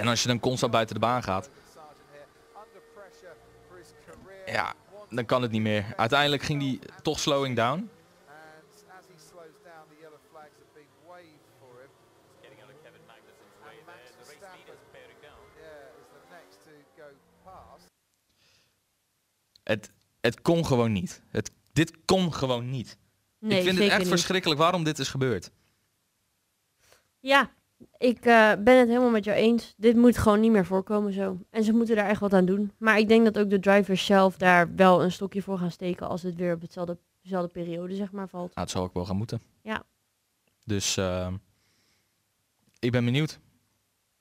E: En als je dan constant buiten de baan gaat,
D: Sargent here under pressure for his career.
E: ja, dan kan het niet meer. Uiteindelijk ging hij toch slowing down.
D: And as he slows down, the yellow flags are being waved for him.
C: getting out of Kevin Magnussen's
D: way there. Max The race Verstappen. leader's
C: bearing down.
D: Yeah, is the next to go past.
E: Het, het kon gewoon niet. Het, dit kon gewoon niet.
F: Nee,
E: ik vind het
F: zeker
E: echt
F: niet.
E: verschrikkelijk waarom dit is gebeurd. Nou,
F: Ja, ik eh, ben het helemaal met jou eens. Dit moet gewoon niet meer voorkomen zo. En ze moeten daar echt wat aan doen. Maar ik denk dat ook de drivers zelf daar wel een stokje voor gaan steken als het weer op hetzelfde, dezelfde periode zeg maar valt.
E: Nou, het zal ook wel gaan moeten.
F: Ja.
E: Dus ehm, ik ben benieuwd.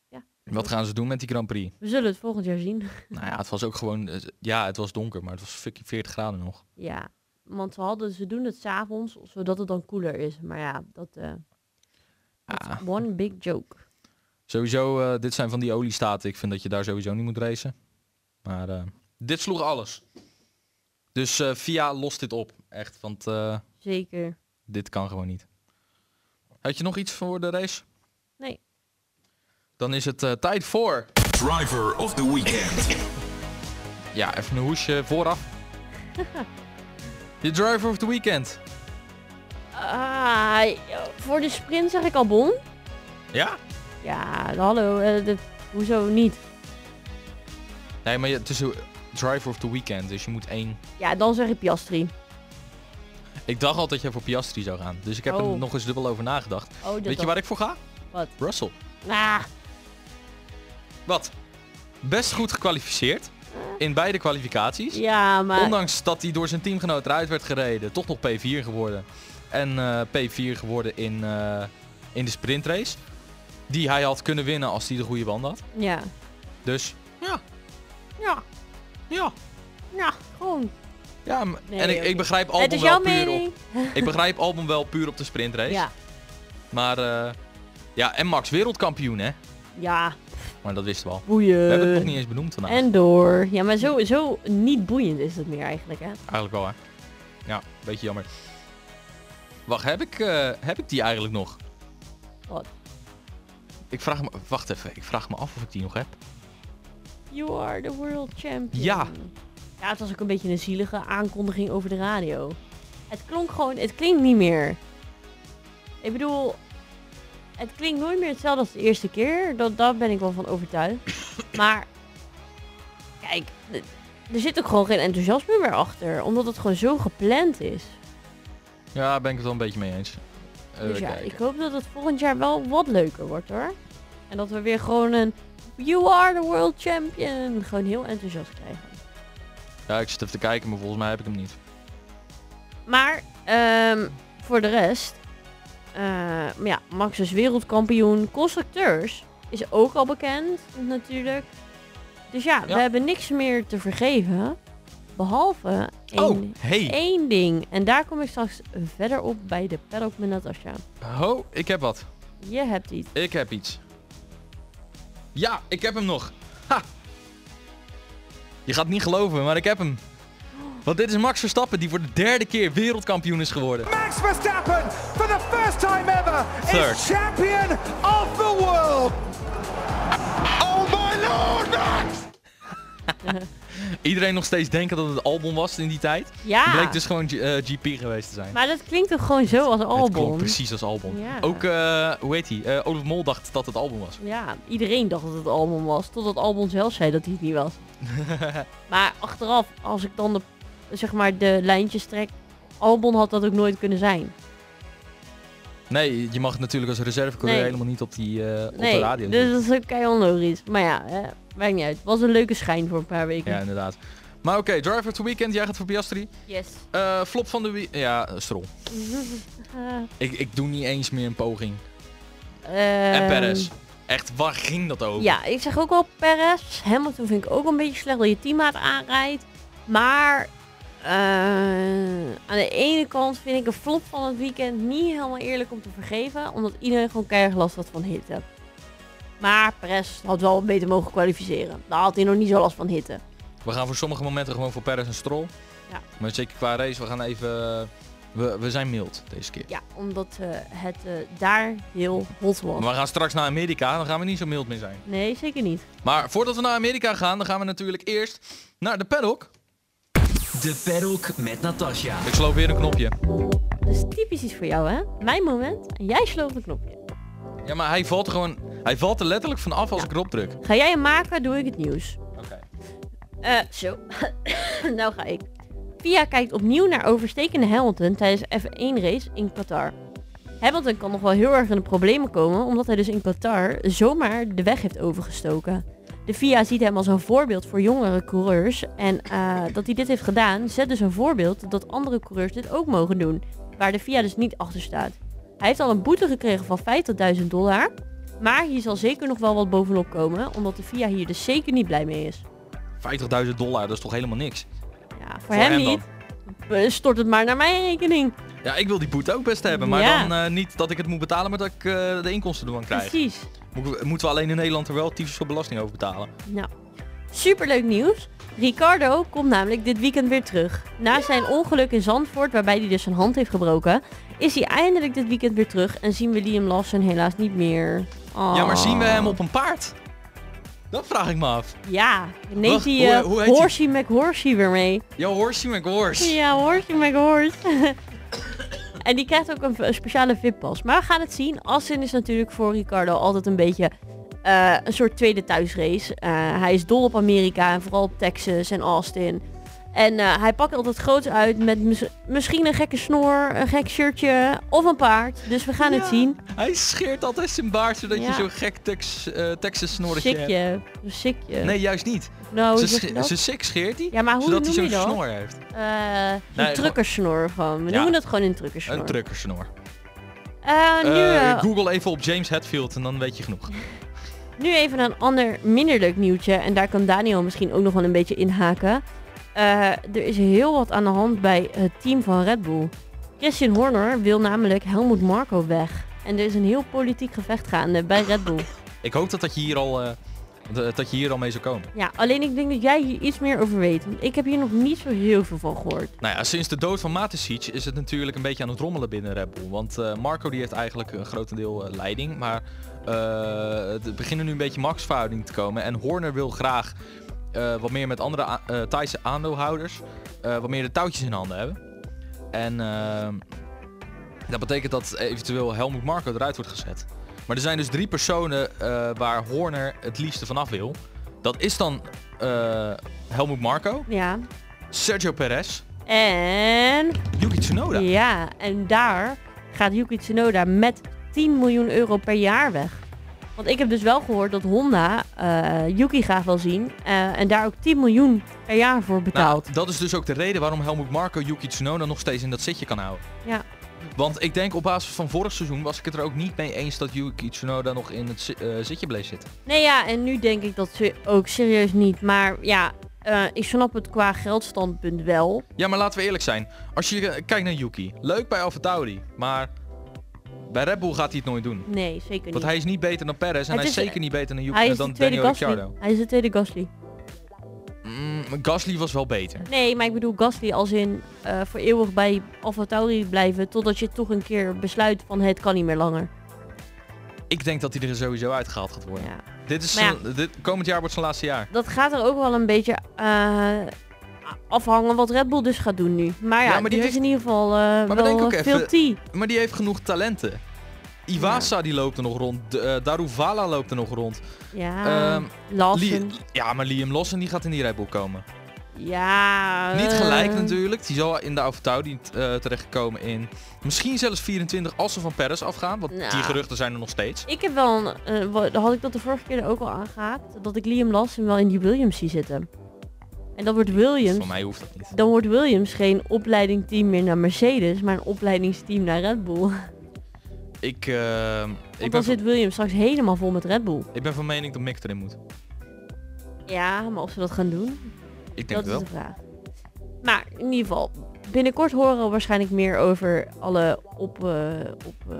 F: Ja.
E: Wat gaan ze doen met die Grand Prix?
F: We zullen het volgend jaar zien.
E: nou ja, het was ook gewoon... eh, Ja, het was donker, maar het was fucking 40 graden nog.
F: Ja, want ze, hadden, ze doen het s'avonds, zodat het dan koeler is. Maar ja, dat eh that's
E: Ah,
F: one big joke.
E: sowieso, eh, dit zijn van die oliestaten. Ik vind dat je daar sowieso niet moet racen. Maar eh, dit sloeg alles. Dus eh VIA lost dit op. Echt, want eh,
F: Zeker.
E: dit kan gewoon niet. Had je nog iets voor de race?
F: Nee.
E: Dan is het eh, tijd voor...
A: Driver of the Weekend.
E: Ja, even een hoesje vooraf. Je driver of the weekend.
F: Ah, voor de sprint zeg ik Albon.
E: Ja?
F: Ja, hallo, eh, de, hoezo niet?
E: Nee, maar je, het is een driver of the weekend, dus je moet één...
F: Ja, dan zeg ik Piastri. Oh,
E: Ik dacht altijd dat jij voor Piastri zou gaan, dus ik heb
F: Oh.
E: er nog eens dubbel over nagedacht.
F: Oh, dat
E: Weet je
F: dan-
E: waar ik voor ga?
F: Wat?
E: Russell.
F: Ah,
E: Wat? Best goed gekwalificeerd in beide kwalificaties.
F: ja, maar...
E: Ondanks dat hij door zijn teamgenoot eruit werd gereden, toch nog P4 geworden. En eh, P4 geworden in, eh, in de sprintrace. Die hij had kunnen winnen als hij de goede band had.
F: Ja.
E: Dus ja,
F: Ja,
E: ja.
F: ja, Nou, gewoon.
E: Ja, maar-
F: Nee,
E: en ik,
F: ook
E: ik
F: niet.
E: begrijp
F: Het
E: Albon
F: is
E: wel
F: jouw
E: puur
F: mening.
E: op. Ik begrijp Albon wel puur op de sprintrace.
F: Ja,
E: Maar eh, ja, en Max wereldkampioen hè.
F: ja,
E: Maar dat wisten we al.
F: boeien.
E: We hebben het nog niet eens benoemd vandaag.
F: En door. Ja, maar zo, zo niet boeiend is het meer eigenlijk, hè?
E: Eigenlijk wel hè. Ja, een beetje jammer. Wacht, heb ik, eh, heb ik die eigenlijk nog?
F: Wat?
E: Ik vraag me, wacht even, ik vraag me af of ik die nog heb.
F: You are the world champion.
E: Ja.
F: Ja, het was ook een beetje een zielige aankondiging over de radio. Het klonk gewoon, het klinkt niet meer. Ik bedoel, het klinkt nooit meer hetzelfde als de eerste keer. Dat, daar ben ik wel van overtuigd. maar, kijk, d- er zit ook gewoon geen enthousiasme meer achter. Omdat het gewoon zo gepland is.
E: Ja, daar ben ik het wel een beetje mee eens. Even
F: dus ja,
E: kijken.
F: ik hoop dat het volgend jaar wel wat leuker wordt hoor. En dat we weer gewoon een You are the world champion. Gewoon heel enthousiast krijgen.
E: ja, ik zit even te kijken, maar volgens mij heb ik hem niet.
F: Maar ehm, voor de rest, eh, maar ja, Max is wereldkampioen. Constructeurs is ook al bekend natuurlijk. Dus ja,
E: Ja.
F: we hebben niks meer te vergeven. Behalve één,
E: Oh, hey.
F: één ding. En daar kom ik straks verder op bij de paddock met Natasha.
E: Ho, ik heb wat.
F: Je hebt iets.
E: Ik heb iets. Ja, ik heb hem nog. Ha! Je gaat het niet geloven, maar ik heb hem. Want dit is Max Verstappen die voor de derde keer wereldkampioen is geworden.
B: Max Verstappen, for the first time ever,
E: Third.
B: is champion of the world. Oh my lord, Max!
E: Iedereen nog steeds denken dat het Albon was in die tijd.
F: Ja,
E: Bleek dus gewoon G- eh, GP geweest te zijn.
F: Ah. maar dat klinkt toch gewoon zo als
E: Het klonk
F: Albon?
E: precies als Albon.
F: Ja.
E: Ook, eh, hoe heet hij? Eh, Olaf Mol dacht dat het Albon was.
F: Ja, iedereen dacht dat het Albon was. Totdat Albon zelf zei dat hij het niet was. maar achteraf, als ik dan de zeg maar, de lijntjes trekt. Albon had dat ook nooit kunnen zijn.
E: Nee, je mag natuurlijk als reservecoureur
F: Nee.
E: helemaal niet op, die, eh, op
F: nee,
E: de radio.
F: dus dat is ook kei onlogisch. Maar ja, hè, maakt niet uit. Was een leuke schijn voor een paar weken.
E: Ja, inderdaad. Maar oké, driver of the weekend, jij gaat voor Piastri.
F: Yes.
E: Eh, flop van de week... Ja, eh, Stroll. Ik, ik doe niet eens meer een poging. en
F: Ehm,
E: Perez. Echt, waar ging dat over?
F: Ja, ik zeg ook wel Perez. Hamilton vind ik ook een beetje slecht dat je teammaat aanrijdt. Maar eh, aan de ene kant vind ik een flop van het weekend niet helemaal eerlijk om te vergeven. Omdat iedereen gewoon keihard last had van hitte. Maar Perez had wel beter mogen kwalificeren. Daar had hij nog niet zo last van hitte.
E: We gaan voor sommige momenten gewoon voor Perez en Stroll.
F: Ja.
E: Maar zeker qua race, we gaan even... We, we zijn mild deze keer.
F: Ja, omdat eh, het eh, daar heel hot was.
E: Maar we gaan straks naar Amerika, dan gaan we niet zo mild meer zijn.
F: Nee, zeker niet.
E: Maar voordat we naar Amerika gaan, dan gaan we natuurlijk eerst naar de paddock.
G: De paddock met Natasja.
E: Ik sloop weer een knopje.
F: Dat is typisch iets voor jou, hè? Mijn moment en jij sloopt een knopje.
E: Ja, maar hij valt er gewoon... Hij valt er letterlijk van af als ik erop druk.
F: Ga jij hem maken, doe ik het nieuws.
E: Oké.
F: Eh, zo. nou ga ik. Via kijkt opnieuw naar overstekende Hamilton tijdens F1 race in Qatar. Hamilton kan nog wel heel erg in de problemen komen omdat hij dus in Qatar zomaar de weg heeft overgestoken. De FIA ziet hem als een voorbeeld voor jongere coureurs en eh, dat hij dit heeft gedaan zet dus een voorbeeld dat andere coureurs dit ook mogen doen, waar de FIA dus niet achter staat. Hij heeft al een boete gekregen van 50.000 dollar, maar hier zal zeker nog wel wat bovenop komen omdat de FIA hier dus zeker niet blij mee is.
E: 50.000 dollar, dat is toch helemaal niks?
F: Ja, voor,
E: Voor
F: hem,
E: hem
F: niet. Eh, Stort het maar naar mijn rekening.
E: Ja, ik wil die boete ook best hebben, maar
F: Ja.
E: dan eh, niet dat ik het moet betalen, maar dat ik eh, de inkomsten ervan krijg.
F: Precies.
E: Moet- moeten we alleen in Nederland er wel tyfus veel belasting over betalen?
F: Nou, superleuk nieuws. Ricardo komt namelijk dit weekend weer terug. Na zijn ongeluk in Zandvoort, waarbij hij dus zijn hand heeft gebroken, is hij eindelijk dit weekend weer terug en zien we Liam Lawson helaas niet meer. Oh.
E: Ja, maar zien we hem op een paard? Dat vraag ik me af.
F: Ja, neemt
E: Wacht,
F: hij
E: hoe-
F: eh,
E: hoe heet hij?
F: Horsey McHorsey weer mee.
E: Yo, horsey McHorse.
F: Ja, Horsey McHorse. en die krijgt ook een, v- een speciale VIP-pas. Maar we gaan het zien. Assin is natuurlijk voor Ricardo altijd een beetje eh, een soort tweede thuisrace. Eh, hij is dol op Amerika en vooral op Texas en Austin. En eh, hij pakt altijd groots uit met mis- misschien een gekke snor, een gek shirtje of een paard. Dus we gaan het
E: Ja.
F: zien.
E: Hij scheert altijd zijn baard zodat
F: Ja.
E: je zo'n gek tex, eh, Texas snorretje hebt.
F: Sikje. Een sikje.
E: Nee, juist niet.
F: nou, hoe
E: Ze
F: zeg je
E: sche-
F: dat?
E: Zijn sik scheert hij,
F: Ja, maar Ah, hoe
E: zodat hij
F: noem je
E: zo'n
F: dat?
E: snor heeft.
F: Eh, een
E: gewoon-
F: truckersnor gewoon. We
E: Ja.
F: noemen dat gewoon een truckersnor.
E: Een truckersnor.
F: Eh, nu,
E: Eh,
F: eh,
E: Google even op James Hetfield en dan weet je genoeg.
F: Nu even een ander minder leuk nieuwtje. En daar kan Daniel misschien ook nog wel een beetje inhaken. Eh, er is heel wat aan de hand bij het team van Red Bull. Christian Horner wil namelijk Helmut Marko weg. En er is een heel politiek gevecht gaande bij Red Bull.
E: Ik hoop dat, dat, je hier al, eh, dat dat je hier al mee zou komen.
F: Ja, alleen ik denk dat jij hier iets meer over weet. Want ik heb hier nog niet zo heel veel van gehoord.
E: Nou ja, sinds de dood van Matesic is het natuurlijk een beetje aan het rommelen binnen Red Bull. Want eh, Marco die heeft eigenlijk een grotendeel eh, leiding. Maar eh er beginnen nu een beetje machtsverhoudingen te komen. En Horner wil graag eh, wat meer met andere a- eh, Thaise aandeelhouders eh, wat meer de touwtjes in handen hebben. En ehm, dat betekent dat eventueel Helmut Marco eruit wordt gezet. Maar er zijn dus drie personen eh, waar Horner het liefste vanaf wil. Dat is dan eh, Helmut Marco,
F: Ja.
E: Sergio Perez
F: En...
E: Yuki Tsunoda.
F: Ja, en daar gaat Yuki Tsunoda met 10 miljoen euro per jaar weg. Want ik heb dus wel gehoord dat Honda eh, Yuki graag wil zien eh, en daar ook 10 miljoen per jaar voor betaalt.
E: Nou, dat is dus ook de reden waarom Helmut Marko Yuki Tsunoda nog steeds in dat zitje kan houden.
F: Ja.
E: Want ik denk op basis van vorig seizoen was ik het er ook niet mee eens dat Yuki Tsunoda nog in het zi- eh, zitje bleef zitten.
F: Nee ja, en nu denk ik dat ze ook serieus niet. Maar ja, eh, ik snap het qua geldstandpunt wel.
E: Ja, maar laten we eerlijk zijn. Als je eh, kijkt naar Yuki, leuk bij AlphaTauri, maar bij Red Bull gaat hij het nooit doen.
F: Nee, zeker niet.
E: Want hij is niet beter dan Perez en
F: Het
E: hij is
F: is-
E: zeker niet beter dan, Yuki, eh,
F: Hij is
E: dan
F: de tweede
E: Daniel
F: Gasly.
E: Ricciardo.
F: Hij is de tweede Gasly.
E: Mm, Gasly was wel beter.
F: Nee, maar ik bedoel Gasly als in eh, voor eeuwig bij AlphaTauri blijven totdat je toch een keer besluit van het kan niet meer langer.
E: Ik denk dat hij er sowieso uitgehaald gaat worden.
F: Ja.
E: Dit is
F: Maar ja.
E: zijn- dit, komend jaar wordt zijn laatste jaar.
F: dat gaat er ook wel een beetje eh, afhangen wat Red Bull dus gaat doen nu. Maar ja,
E: Ja, maar die
F: dit is
E: heeft-
F: in ieder geval eh
E: Maar bedenk
F: wel
E: ook
F: eh,
E: even-
F: veel tea.
E: Maar die heeft genoeg talenten. Iwasa die loopt er nog rond. D- eh, Daruvala loopt er nog rond.
F: Ja,
E: Ehm,
F: Lawson.
E: Li- ja, maar Liam Lawson die gaat in die Red Bull komen.
F: Ja.
E: Niet gelijk
F: eh,
E: natuurlijk. Die zal in de Auvertouw die eh, terechtgekomen in misschien zelfs 24 als ze van Paris afgaan. Want
F: Nou.
E: die geruchten zijn er nog steeds.
F: Ik heb wel een, eh, wa- had ik dat de vorige keer ook al aangehaald, dat ik Liam Lawson wel in die Williams zie zitten. En dan wordt Williams,
E: Voor mij hoeft dat niet.
F: dan wordt Williams geen opleidingteam meer naar Mercedes, maar een opleidingsteam naar Red Bull.
E: Ik, eh, ik,
F: Want
E: ben
F: dan
E: van,
F: zit Williams straks helemaal vol met Red Bull.
E: ik ben van mening dat Mick erin moet.
F: Ja, maar of ze dat gaan doen,
E: Ik denk het
F: dat is
E: wel.
F: de vraag. Maar in ieder geval, binnenkort horen we waarschijnlijk meer over alle op, eh, op eh,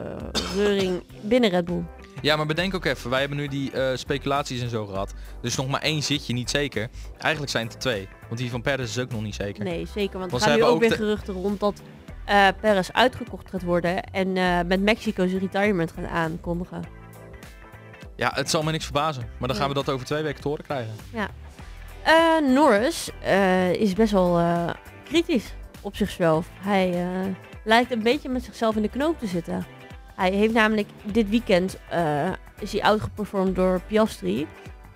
F: reuring binnen Red Bull.
E: Ja, maar bedenk ook even. Wij hebben nu die eh, speculaties en zo gehad. Dus nog maar één zitje, niet zeker. Eigenlijk zijn het er twee. Want die van Paris is ook nog niet zeker.
F: Nee, zeker. Want
E: Want
F: er gaan
E: ze
F: nu
E: hebben
F: ook
E: ook
F: weer
E: de-
F: geruchten rond dat eh Perez uitgekocht gaat worden. En eh, met Mexico zijn retirement gaat aankondigen.
E: Ja, het zal me niks verbazen. Maar dan gaan we
F: Nee.
E: dat over twee weken te horen krijgen.
F: Eh, Norris eh, is best wel eh, kritisch op zichzelf. Hij eh, lijkt een beetje met zichzelf in de knoop te zitten. Hij heeft namelijk dit weekend eh, is hij outgeperformed door Piastri.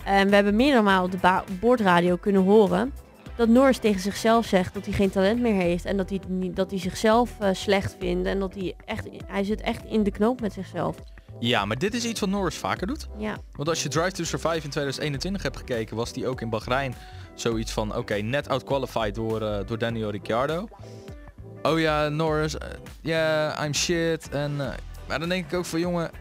F: En we hebben meerdere malen op de ba- boordradio kunnen horen dat Norris tegen zichzelf zegt dat hij geen talent meer heeft en dat hij, het niet, dat hij zichzelf eh, slecht vindt en dat hij echt, hij zit echt in de knoop met zichzelf.
E: Ja, maar dit is iets wat Norris vaker doet.
F: Ja.
E: Want als je Drive to Survive in 2021 hebt gekeken, was die ook in Bahrein zoiets van, oké, net outqualified door, eh, door Daniel Ricciardo. Oh ja, Norris, ja, I'm shit. En, eh, maar dan denk ik ook van, jongen,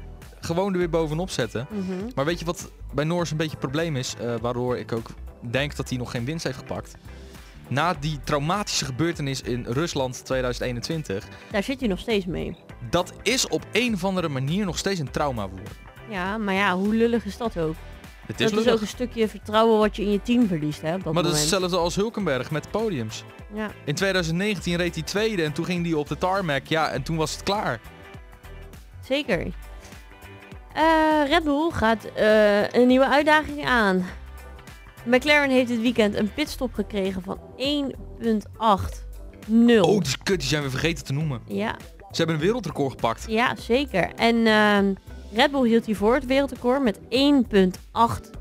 E: gewoon er weer bovenop zetten.
F: Mhm.
E: Maar weet je wat bij Norris een beetje het probleem is, eh, waardoor ik ook denk dat hij nog geen winst heeft gepakt? Na die traumatische gebeurtenis in Rusland 2021,
F: Daar zit je nog steeds mee.
E: dat is op een of andere manier nog steeds een trauma voor. hem.
F: Ja, maar ja, hoe lullig is dat ook?
E: Het is
F: dat is
E: lullig.
F: ook een stukje vertrouwen wat je in je team verliest, hè? Op dat
E: maar dat is
F: moment.
E: hetzelfde als Hulkenberg met podiums.
F: Ja.
E: In 2019 reed hij tweede en toen ging hij op de tarmac. Ja, en toen was het klaar.
F: Zeker. Eh, Red Bull gaat eh, een nieuwe uitdaging aan. McLaren heeft dit weekend een pitstop gekregen van 1.80.
E: Oh, die kut, die zijn we vergeten te noemen.
F: Ja,
E: Ze hebben een wereldrecord gepakt.
F: ja, zeker. En ehm, Red Bull hield hiervoor het wereldrecord met 1.82.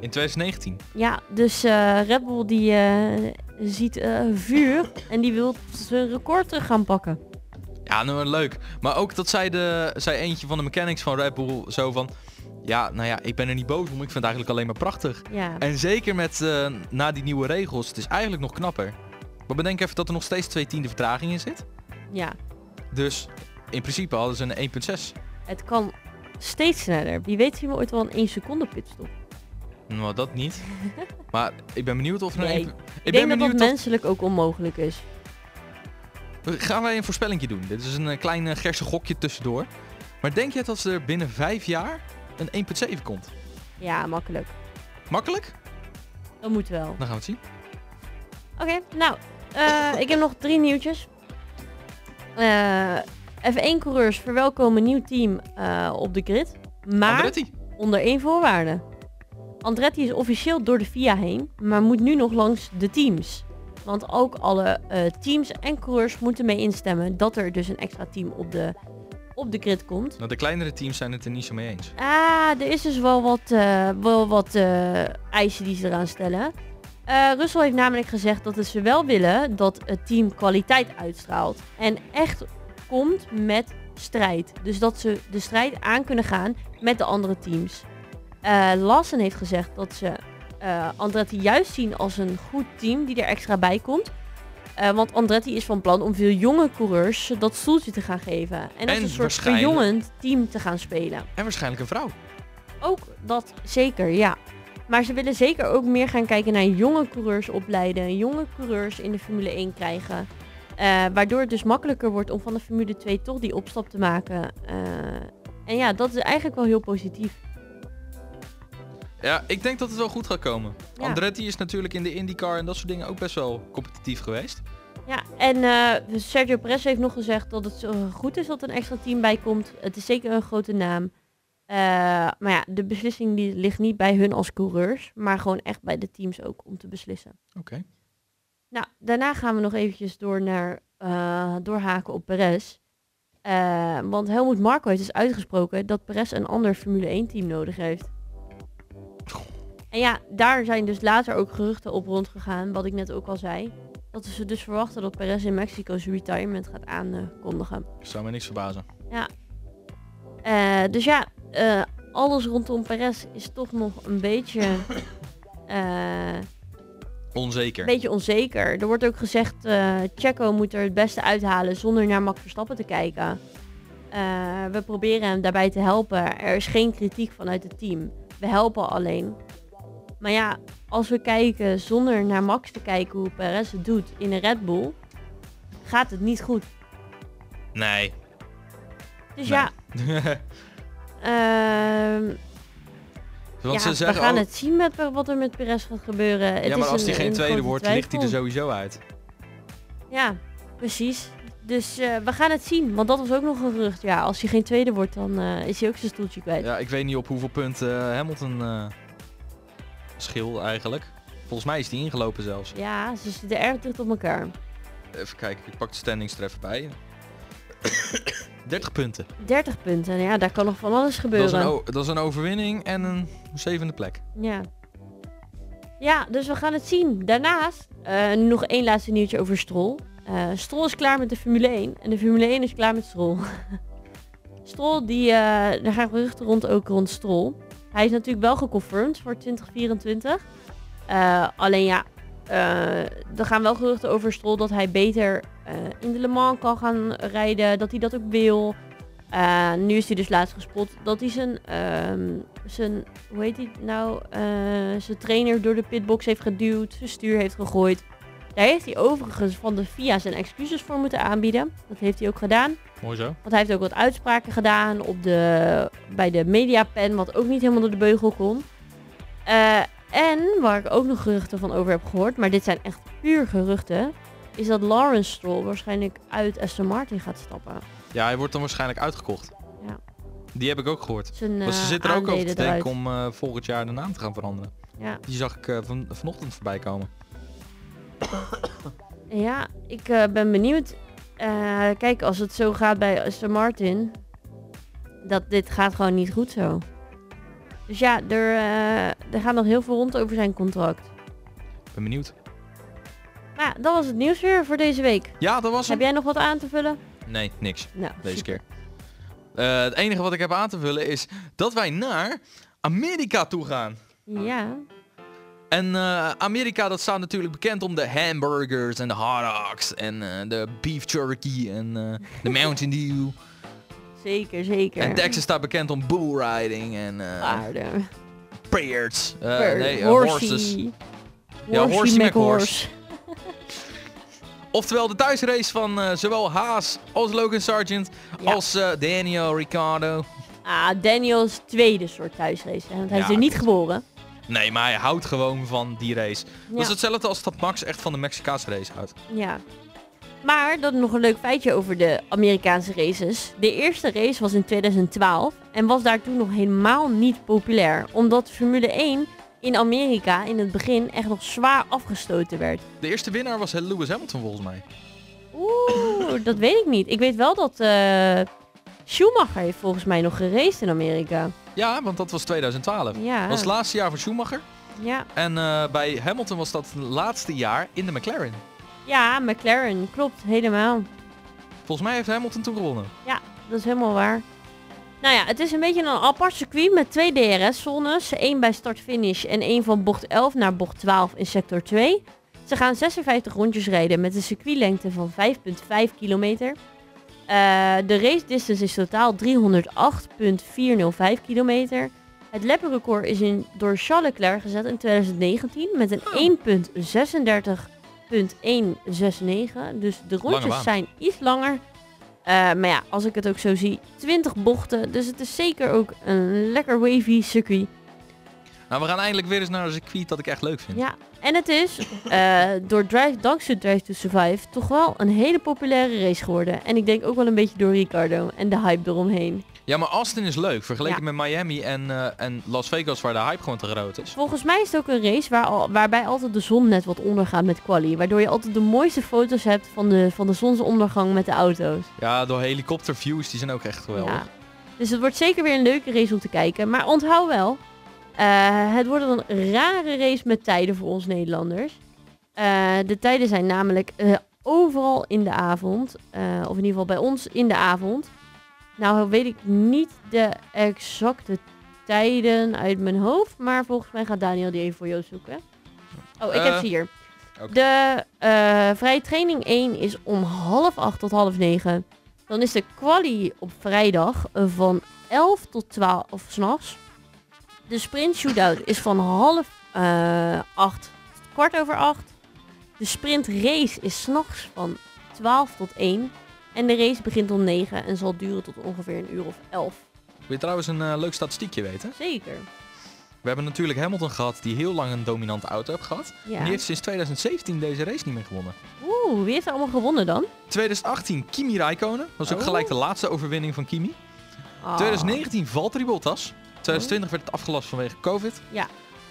E: In 2019.
F: Ja, dus eh, Red Bull die eh, ziet eh, vuur en die wil zijn record terug gaan pakken.
E: Ja, nou leuk. Maar ook dat zei, de, zei eentje van de mechanics van Red Bull zo van... Ja, nou ja, ik ben er niet boos om. Ik vind het eigenlijk alleen maar prachtig.
F: Ja.
E: En zeker met eh, na die nieuwe regels. Het is eigenlijk nog knapper. Maar bedenk even dat er nog steeds twee tiende vertraging in zit.
F: ja.
E: Dus in principe hadden ze een 1.6.
F: Het kan steeds sneller. Wie weet zien we ooit wel een 1 seconde pitstop.
E: Nou, dat niet. Maar ik ben benieuwd of er een...
F: Nee.
E: 1
F: Ik,
E: ben
F: denk dat
E: benieuwd
F: dat
E: of-
F: menselijk ook onmogelijk is.
E: Gaan wij een voorspellingje doen? Dit is een eh, klein eh, Gerse gokje tussendoor. Maar denk jij dat er binnen vijf jaar een 1.7 komt?
F: Ja, makkelijk.
E: Makkelijk?
F: Dat moet wel. Oké,
E: Dan gaan we het zien.
F: nou, eh, ik heb nog drie nieuwtjes. Eh, F1-coureurs verwelkomen een nieuw team eh, op de grid. Maar
E: Andretti.
F: onder één voorwaarde. Andretti is officieel door de FIA heen, maar moet nu nog langs de teams. Want ook alle eh, teams en coureurs moeten mee instemmen dat er dus een extra team op de, op de grid komt.
E: Nou, de kleinere teams zijn het er niet zo mee eens.
F: Ah, er is dus wel wat, eh, wel wat eh, eisen die ze eraan stellen. Eh Russell heeft namelijk gezegd dat ze wel willen dat het team kwaliteit uitstraalt. En echt komt met strijd. Dus dat ze de strijd aan kunnen gaan met de andere teams. Eh Lassen heeft gezegd dat ze eh, Andretti juist zien als een goed team die er extra bij komt. Eh, want Andretti is van plan om veel jonge coureurs dat stoeltje te gaan geven. En als
E: En
F: een soort
E: waarschijnlijk-
F: verjongend team te gaan spelen.
E: En waarschijnlijk een vrouw.
F: Ook dat zeker, ja. Maar ze willen zeker ook meer gaan kijken naar jonge coureurs opleiden, jonge coureurs in de Formule 1 krijgen. Eh, waardoor het dus makkelijker wordt om van de Formule 2 toch die opstap te maken. Eh, en ja, dat is eigenlijk wel heel positief.
E: Ja, ik denk dat het wel goed gaat komen.
F: Ja.
E: Andretti is natuurlijk in de IndyCar en dat soort dingen ook best wel competitief geweest.
F: Ja, en eh, Sergio Perez heeft nog gezegd dat het zo goed is dat een extra team bij komt. Het is zeker een grote naam. Eh, maar ja, de beslissing die ligt niet bij hun als coureurs, maar gewoon echt bij de teams ook om te beslissen.
E: Oké.
F: Nou, daarna gaan we nog eventjes door naar eh, doorhaken op Perez. Eh, want Helmoet Marco heeft dus uitgesproken dat Perez een ander Formule 1 team nodig heeft. En ja, daar zijn dus later ook geruchten op rondgegaan, wat ik net ook al zei. Dat ze dus verwachten dat Perez in Mexico zijn retirement gaat aankondigen.
E: Zou mij niks verbazen.
F: Eh, dus ja, eh, alles rondom Perez is toch nog een beetje... eh,
E: Onzeker.
F: Beetje onzeker. Er wordt ook gezegd, eh Checo moet er het beste uithalen zonder naar Max Verstappen te kijken. Eh, we proberen hem daarbij te helpen. Er is geen kritiek vanuit het team. We helpen alleen. Maar ja, als we kijken zonder naar Max te kijken hoe Perez het doet in een Red Bull, gaat het niet goed.
E: Nee.
F: Dus
E: Nee.
F: ja, ehm,
E: Want
F: ja,
E: ze
F: we
E: zeggen
F: gaan
E: ook-
F: het zien met per- wat er met Perez gaat gebeuren. Het
E: ja,
F: is
E: maar als
F: een-
E: hij geen
F: een
E: tweede
F: grote
E: wordt, ligt dus hij er
F: twijfel.
E: sowieso uit.
F: Ja, precies. Dus eh, we gaan het zien, want dat was ook nog een gerucht. Ja, als hij geen tweede wordt, dan eh, is hij ook zijn stoeltje kwijt.
E: Ja, ik weet niet op hoeveel punten eh, Hamilton eh schil eigenlijk. Volgens mij is die ingelopen zelfs.
F: Ja, ze zitten erg dicht op elkaar.
E: Even kijken, ik pak de standings er even bij. 30 punten.
F: 30 punten, ja, daar kan nog van alles
E: Dat is,
F: gebeuren.
E: een o- dat is een overwinning en een zevende plek.
F: Ja. Ja, dus we gaan het zien. Daarnaast eh, nog één laatste nieuwtje over Strol. Eh Strol is klaar met de Formule 1 en de Formule 1 is klaar met Strol. Strol, die, eh daar gaan geruchten rond ook rond Strol. Hij is natuurlijk wel geconfirmed voor 2024. Eh, alleen ja, eh, er gaan wel geruchten over Strol dat hij beter eh, in de Le Mans kan gaan rijden. Dat hij dat ook wil. Eh, nu is hij dus laatst gespot dat hij zijn, ehm, zijn hoe heet hij nou, eh, zijn trainer door de pitbox heeft geduwd, zijn stuur heeft gegooid. Daar heeft hij overigens van de FIA zijn excuses voor moeten aanbieden. Dat heeft hij ook gedaan.
E: Mooi zo.
F: Want hij heeft ook wat uitspraken gedaan op de, bij de mediapen, wat ook niet helemaal door de beugel kon. Eh, en waar ik ook nog geruchten van over heb gehoord, maar dit zijn echt puur geruchten, is dat Lawrence Stroll waarschijnlijk uit Aston Martin gaat stappen.
E: Ja, hij wordt dan waarschijnlijk uitgekocht.
F: Ja.
E: Die heb ik ook gehoord.
F: Zijn,
E: Want ze
F: eh,
E: zitten er ook over te
F: aandelen
E: denken
F: eruit.
E: om eh, volgend jaar de naam te gaan veranderen.
F: Ja.
E: Die zag ik eh, van, vanochtend voorbij komen.
F: Ja, ik eh, ben benieuwd. Eh, kijk, als het zo gaat bij Aston Martin, dat dit gaat gewoon niet goed zo. Dus ja, er, eh, er gaat nog heel veel rond over zijn contract.
E: Ben benieuwd.
F: Maar ja, dat was het nieuws weer voor deze week.
E: Ja, dat was hem.
F: Heb jij nog wat aan te vullen?
E: Nee, niks.
F: Nou,
E: Deze
F: super.
E: keer. Eh, het enige wat ik heb aan te vullen is dat wij naar Amerika toe gaan.
F: Ja,
E: En eh, Amerika, dat staat natuurlijk bekend om de hamburgers en de hot dogs en eh, de beef jerky en eh, de Mountain Dew.
F: zeker, zeker.
E: En Texas staat bekend om bull riding en eh
F: Paarden.
E: birds. Eh,
F: Paarden.
E: nee, eh,
F: Horsey.
E: horses. Ja,
F: Horsey
E: horsey
F: Mac
E: McHorse.
F: Horse.
E: Oftewel de thuisrace van eh, zowel Haas als Logan Sargent
F: Ja.
E: als eh, Daniel Ricciardo.
F: Ah, Daniels tweede soort thuisrace. hè, Want hij is
E: Ja,
F: er niet
E: klopt.
F: geboren.
E: Nee, maar hij houdt gewoon van die race. Dat is hetzelfde als dat Max echt van de Mexicaanse race houdt.
F: Ja. Maar dan nog een leuk feitje over de Amerikaanse races. De eerste race was in 2012 en was daar toen nog helemaal niet populair. Omdat Formule 1 in Amerika in het begin echt nog zwaar afgestoten werd.
E: De eerste winnaar was Lewis Hamilton volgens mij.
F: Oeh, dat weet ik niet. Ik weet wel dat eh, Schumacher heeft volgens mij nog geraced in Amerika.
E: Ja, want dat was 2012.
F: Ja,
E: Dat was het laatste jaar van Schumacher.
F: ja.
E: En eh, bij Hamilton was dat het laatste jaar in de McLaren.
F: ja McLaren, klopt, helemaal.
E: Volgens mij heeft Hamilton toen gewonnen.
F: Dat is helemaal waar. Nou ja, het is een beetje een apart circuit met twee DRS-zones. Eén bij start-finish en één van bocht 11 naar bocht 12 in sector 2. Ze gaan 56 rondjes rijden met een circuitlengte van 5,5 kilometer. Eh, de race distance is totaal 308,405 kilometer. Het lappenrecord is in, door Charles Leclerc gezet in 2019 met een 1,36,169. Dus de rondjes
E: baan.
F: zijn iets langer. Eh, maar ja, als ik het ook zo zie, 20 bochten. Dus het is zeker ook een lekker wavy circuit.
E: Nou, we gaan eindelijk weer eens naar een circuit dat ik echt leuk vind.
F: Ja, en het is eh, door Drive, dankzij Drive to Survive, toch wel een hele populaire race geworden. En ik denk ook wel een beetje door Ricardo en de hype eromheen.
E: Ja, maar Austin is leuk vergeleken met Miami en, eh, en Las Vegas waar de hype gewoon te groot is.
F: Volgens mij is het ook een race waar al, waarbij altijd de zon net wat ondergaat met quali. Waardoor je altijd de mooiste foto's hebt van de, van de zonsondergang met de auto's.
E: Ja, door helikopterviews, die zijn ook echt geweldig.
F: Ja. Dus het wordt zeker weer een leuke race om te kijken. Maar onthoud wel, Eh, het wordt een rare race met tijden voor ons Nederlanders. Eh, de tijden zijn namelijk eh, overal in de avond. eh, of in ieder geval bij ons in de avond. Nou weet ik niet de exacte tijden uit mijn hoofd. Maar volgens mij gaat Daniel die even voor jou zoeken. Oh, ik heb
E: Eh,
F: ze hier.
E: oké.
F: De eh vrije training 1 is om half acht tot half negen. Dan is de quali op vrijdag eh, van 11 tot 12 s'nachts. De sprint shootout is van half eh, acht tot kwart over acht. De sprint race is s'nachts van 12 tot 1. En de race begint om 9 en zal duren tot ongeveer een uur of 11.
E: Wil je trouwens een eh, leuk statistiekje weten?
F: Zeker.
E: We hebben natuurlijk Hamilton gehad die heel lang een dominante auto heeft gehad. En die
F: Ja.
E: heeft sinds 2017 deze race niet meer gewonnen.
F: Oeh, wie heeft er allemaal gewonnen dan?
E: 2018 Kimi Räikkönen. Dat was ook
F: Oh.
E: gelijk de laatste overwinning van Kimi.
F: Ah.
E: 2019 Valtteri Bottas. 2020 werd het afgelast vanwege COVID.
F: Ja.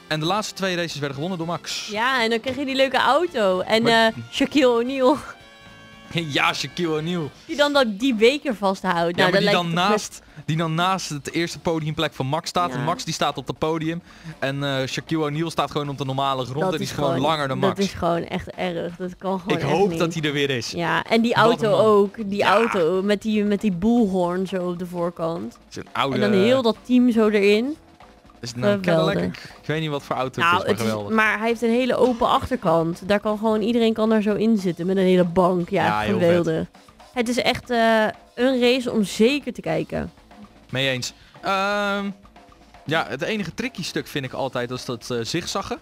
E: En de laatste twee races werden gewonnen door Max.
F: Ja, en dan kreeg je die leuke auto. En eh
E: Maar-
F: Shaquille O'Neal,
E: ja Shaquille O'Neal.
F: die dan dat, die beker vasthoudt.
E: ja, maar die,
F: dat
E: dan
F: lijkt het
E: naast, die dan naast het eerste podiumplek van Max staat.
F: Ja.
E: En Max die staat op het podium. En eh, Shaquille O'Neal staat gewoon op de normale grond.
F: Dat
E: en die is, gewoon, langer dan Max.
F: Dat is gewoon echt erg. Dat kan gewoon
E: Ik
F: echt
E: hoop
F: niet.
E: dat hij er weer is.
F: Ja, en die
E: Wat een
F: auto
E: man.
F: ook. Die auto met die, met die boelhoorn zo op de voorkant.
E: Het is een oude...
F: En dan heel dat team zo erin.
E: is het nou een
F: geweldig.
E: Cadillac? Ik- Ik weet niet wat voor auto het is,
F: nou,
E: maar
F: het is,
E: geweldig.
F: maar hij heeft een hele open achterkant. Daar kan gewoon iedereen kan daar zo in zitten met een hele bank. Ja,
E: Ja, heel
F: geweldig. Het is echt eh, een race om zeker te kijken.
E: Mee eens. Ehm, ja, het enige tricky stuk vind ik altijd als dat eh, zigzaggen.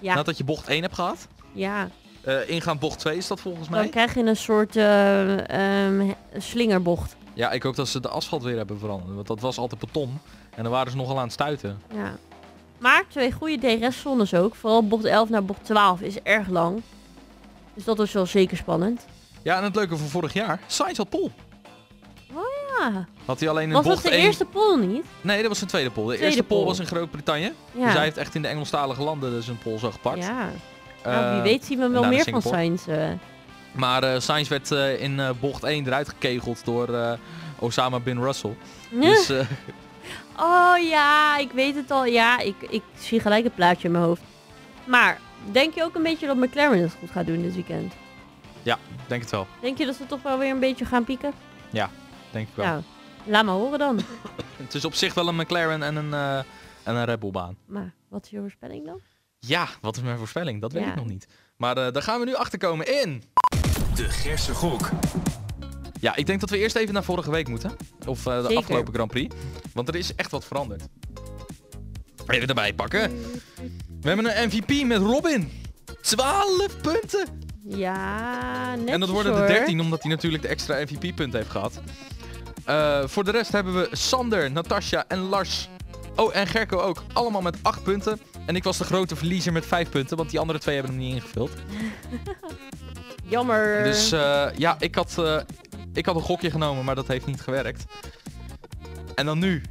F: Ja.
E: Nadat je bocht 1 hebt gehad.
F: Ja,
E: Eh, ingaan bocht 2 is dat volgens
F: dan
E: mij.
F: krijg je een soort eh, ehm, slingerbocht.
E: Ja, ik hoop dat ze de asfalt weer hebben veranderd. Want dat was altijd beton. En dan waren ze nogal aan het stuiten.
F: Ja. Maar twee goede DRS-zones ook. Vooral bocht 11 naar bocht 12 is erg lang. Dus dat is wel zeker spannend.
E: Ja, en het leuke van vorig jaar. Sainz had pol.
F: Ja.
E: Had hij alleen in
F: Was dat
E: bocht
F: de
E: 1...
F: eerste pol niet?
E: Nee, dat was zijn tweede pol. De
F: Tweede
E: eerste pol
F: pole.
E: was in Groot-Brittannië.
F: Ja.
E: Dus hij heeft echt in de Engelstalige landen zijn pol zo gepakt.
F: Ja.
E: Eh,
F: nou, wie weet zien we wel
E: naar de
F: meer van
E: Singapore.
F: Sainz. eh.
E: Maar eh Sainz werd eh, in eh, bocht 1 eruit gekegeld door eh, Osama Bin Russell. Dus eh,
F: Oh ja, ik weet het al. Ja, ik, ik zie gelijk het plaatje in mijn hoofd. Maar denk je ook een beetje dat McLaren het goed gaat doen dit weekend?
E: denk het wel.
F: Denk je dat ze toch wel weer een beetje gaan pieken?
E: Denk ik wel.
F: Nou, laat maar horen dan.
E: Het is op zich wel een McLaren en een, eh en een Red Bull baan.
F: Maar wat is je voorspelling dan?
E: Ja, wat is mijn voorspelling? Dat weet
F: Ja.
E: ik nog niet. Maar eh, daar gaan we nu achter komen in.
A: De Gerse Gok.
E: Ja, ik denk dat we eerst even naar vorige week moeten. Of eh, de
F: Zeker.
E: afgelopen Grand Prix. Want er is echt wat veranderd. Even erbij pakken. We hebben een MVP met Robin. 12 punten.
F: Ja, net
E: en dat worden de 13 omdat hij natuurlijk de extra MVP-punt heeft gehad. Eh, voor de rest hebben we Sander, Natasja en Lars. Oh, en Gerco ook. Allemaal met 8 punten. En ik was de grote verliezer met 5 punten, want die andere twee hebben hem niet ingevuld.
F: Jammer.
E: Dus eh, ja, ik had, eh, ik had een gokje genomen, maar dat heeft niet gewerkt. En dan nu.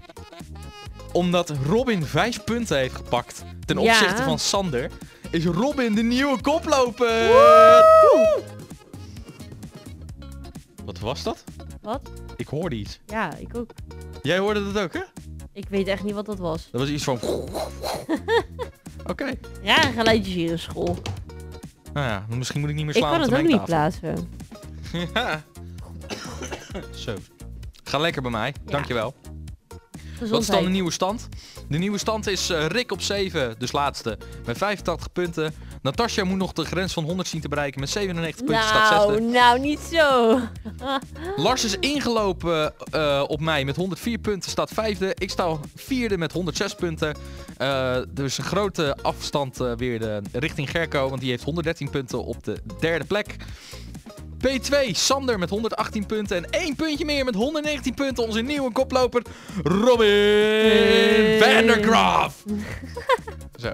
E: Omdat Robin 5 punten heeft gepakt ten
F: Ja.
E: opzichte van Sander, is Robin de nieuwe koploper. Woe! Wat was dat?
F: Wat?
E: Ik hoorde iets.
F: Ja, ik ook.
E: Jij hoorde dat ook, hè?
F: Ik weet echt niet wat dat was.
E: Dat was iets van... Oké.
F: Rare geluidjes hier in school.
E: Nou ja, misschien moet ik niet meer
F: Ik
E: slaan
F: kan
E: op
F: het
E: de
F: ook niet
E: mengtafel.
F: plaatsen.
E: Ja. Zo. Ga lekker bij mij.
F: Ja.
E: Dankjewel. Wat is dan de
F: Gezondheid.
E: nieuwe stand? De nieuwe stand is eh, Rick op 7, dus laatste, met 85 punten. Natasja moet nog de grens van 100 zien te bereiken met 97 punten, staat
F: Nou,
E: zesde.
F: nou, niet zo.
E: Lars is ingelopen eh, op mij met 104 punten, staat vijfde. Ik sta vierde met 106 punten. Eh, dus een grote afstand eh, weer de, richting Gerco, want die heeft 113 punten op de derde plek. P2, Sander met 118 punten en één puntje meer met 119 punten. Onze nieuwe koploper, Robin
F: Hey.
E: van der Graaf. Zo.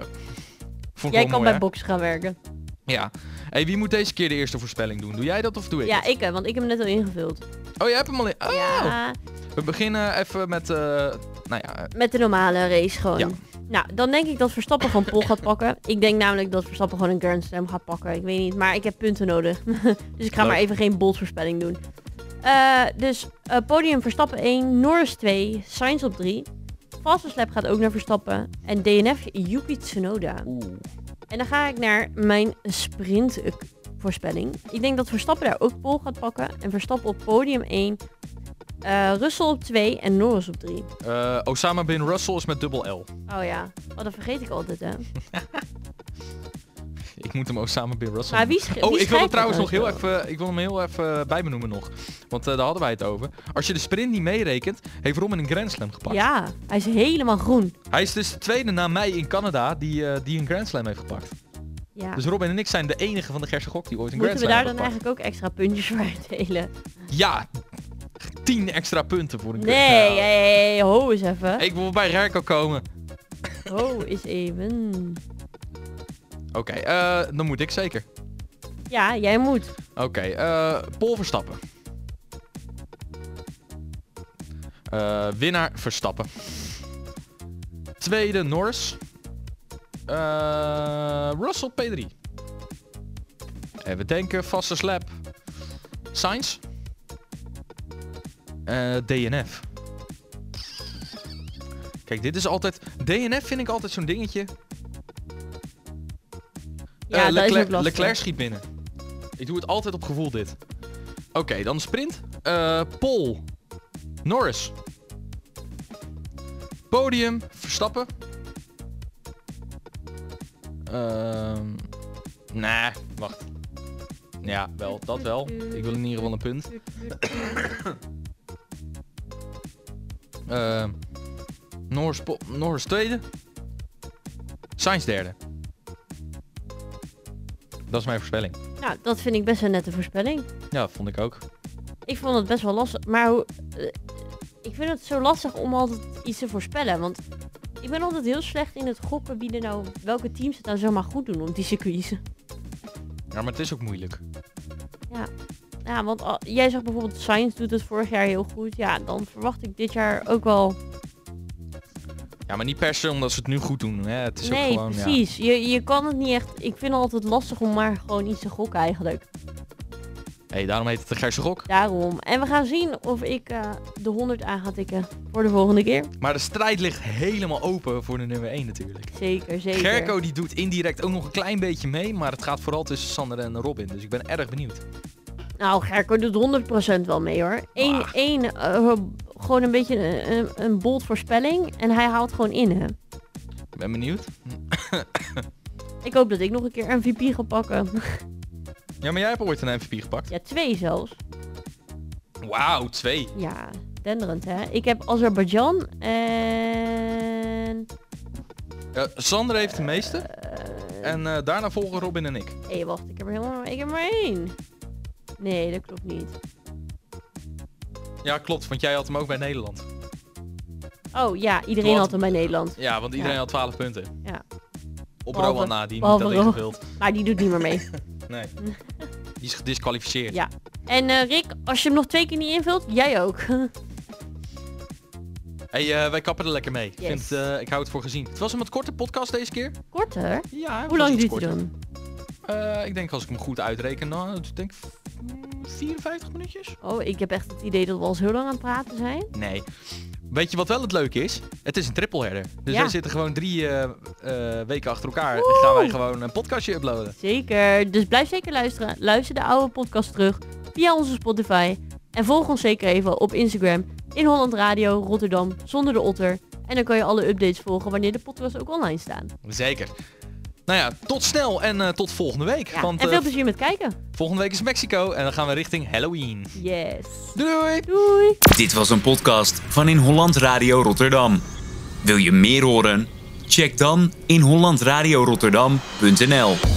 E: Vond ik wel
F: Jij kan
E: mooi,
F: bij
E: hè?
F: boksen gaan werken.
E: Ja. Hey, wie moet deze keer de eerste voorspelling doen? Doe jij dat of doe ik
F: Ja,
E: het?
F: ik hè, want ik heb hem net al ingevuld.
E: Oh, jij hebt hem al in... Oh.
F: Ja,
E: We beginnen even met, eh, nou ja, eh,
F: met de normale race gewoon.
E: Ja.
F: Nou, dan denk ik dat Verstappen gewoon Pol gaat pakken. Ik denk namelijk dat Verstappen gewoon een Grand Slam gaat pakken. Ik weet niet, maar ik heb punten nodig. dus ik ga
E: Leuk.
F: maar even geen boldvoorspelling doen. Eh, dus eh, podium Verstappen 1, Norris 2, Sainz op 3. Vastenslap gaat ook naar Verstappen. En DNF Yuki Tsunoda. En dan ga ik naar mijn sprint voorspelling. Ik denk dat Verstappen daar ook pol gaat pakken. En Verstappen op podium 1. eh Russell op 2 en Norris op 3.
E: Eh, Osama bin Russell is met dubbel L.
F: Oh ja, oh, dat vergeet ik altijd hè.
E: Ik moet hem Osama bin Russell
F: Maar wie, sch-
E: Oh,
F: wie
E: ik wil
F: schrijft
E: het trouwens nog
F: dat
E: heel
F: nou zo?
E: even, ik wil hem heel even eh, bijbenoemen nog. Want eh, daar hadden wij het over. Als je de sprint niet meerekent, heeft Robin een Grand Slam gepakt.
F: Ja, hij is helemaal groen.
E: Hij is dus de tweede na mij in Canada die, eh, die een Grand Slam heeft gepakt.
F: Ja.
E: Dus Robin en ik zijn de enige van de Gerse Gok die ooit een
F: Moeten we
E: Grand
F: daar
E: Slam
F: dan
E: hebben gepakt.
F: eigenlijk ook extra puntjes voor uitdelen?
E: Ja, 10 extra punten voor een Grand
F: Nee,
E: Slam.
F: hey, hey, ho eens even.
E: Ik wil bij Rerko komen.
F: Ho eens even.
E: Oké, eh, dan moet ik zeker.
F: Ja, jij moet.
E: Oké, eh, Paul Verstappen. Eh, winnaar Verstappen. Tweede Norris. Eh, Russell P3. En we denken vaste slap. Sainz. Eh, DNF. Kijk, dit is altijd... DNF vind ik altijd zo'n dingetje.
F: Ja,
E: Eh,
F: dat is
E: Leclerc,
F: ook lastig.
E: Leclerc schiet binnen. Ik doe het altijd op gevoel dit. Oké, dan sprint. Eh Pol. Norris. Podium. Verstappen. Ehm nee, wacht. Ja, wel. Dat wel. Ik wil in ieder geval een punt. Ehm Norris, po- Norris tweede. Sainz derde. Dat is mijn voorspelling.
F: Nou, dat vind ik best een nette voorspelling.
E: Ja, vond ik ook.
F: Ik vond het best wel lastig. Maar hoe, eh, ik vind het zo lastig om altijd iets te voorspellen. Want ik ben altijd heel slecht in het gokken wie er nou, welke teams het nou zomaar goed doen op die circuits.
E: Ja, maar het is ook moeilijk.
F: Ja, want al- jij zegt bijvoorbeeld Science doet het vorig jaar heel goed. Ja, dan verwacht ik dit jaar ook wel.
E: Ja, maar niet per se omdat ze het nu goed doen. Hè. Het is ook
F: nee,
E: gewoon, Ja.
F: precies. Je, je kan het niet echt. Ik vind het altijd lastig om maar gewoon iets te gokken eigenlijk.
E: Hey, daarom heet het de Gerse Gok.
F: Daarom. En we gaan zien of ik eh, de 100 aan ga tikken voor de volgende keer.
E: Maar de strijd ligt helemaal open voor de nummer 1 natuurlijk.
F: Zeker, zeker.
E: Gerco die doet indirect ook nog een klein beetje mee, maar het gaat vooral tussen Sander en Robin. Dus ik ben erg benieuwd.
F: Nou, Gerco doet 100% wel mee hoor. Eén,
E: Ah.
F: één, eh, gewoon een beetje een, een, een bold voorspelling. En hij haalt gewoon in hè.
E: Ik ben benieuwd.
F: Ik hoop dat ik nog een keer MVP ga pakken.
E: Ja, maar jij hebt ooit een MVP gepakt.
F: ja, twee zelfs.
E: Wauw, twee.
F: Ja, denderend hè. Ik heb Azerbeidzjan en...
E: Eh, Sander heeft de meeste.
F: eh,
E: En eh, daarna volgen Robin en ik.
F: Hé, wacht, ik heb er helemaal ik heb er maar één. Nee, dat klopt niet.
E: Ja, klopt, want jij had hem ook bij Nederland.
F: Oh ja, iedereen
E: Wat?
F: had hem bij Nederland.
E: Ja, want iedereen
F: Ja.
E: had 12 punten.
F: Ja.
E: Op
F: Behalve-
E: Rowan na, die niet
F: behalve
E: had
F: Rowan.
E: ingevuld.
F: Maar die doet niet meer mee.
E: Nee. Die is gedisqualificeerd.
F: Ja. En eh, Rick, als je hem nog twee keer niet invult, jij ook.
E: Hey, eh, wij kappen er lekker mee. Ik,
F: Yes.
E: vind, eh, ik hou het voor gezien. Het was een wat korte podcast deze keer.
F: Korter?
E: Ja,
F: Hoe lang duurt hij dan?
E: Eh, ik denk als ik hem goed uitreken, nou, ik denk mm, 54 minuutjes.
F: Oh, ik heb echt het idee dat we al zo lang aan het praten zijn.
E: Nee. Weet je wat wel het leuke is? Het is een triple herder. Dus
F: Ja.
E: wij zitten gewoon drie eh, eh, weken achter elkaar. En gaan wij gewoon een podcastje uploaden.
F: Zeker. Dus blijf zeker luisteren. Luister de oude podcast terug via onze Spotify. En volg ons zeker even op Instagram in Holland Radio Rotterdam zonder de otter. En dan kan je alle updates volgen wanneer de podcast ook online staan.
E: Zeker. Nou ja, tot snel en eh, tot volgende week.
F: Ja,
E: Want
F: en veel
E: eh,
F: plezier met kijken.
E: volgende week is Mexico en dan gaan we richting Halloween.
F: Yes.
E: Doei doei!
F: Doei.
G: Dit was een podcast van In Holland Radio Rotterdam. Wil je meer horen? Check dan inhollandradiorotterdam.nl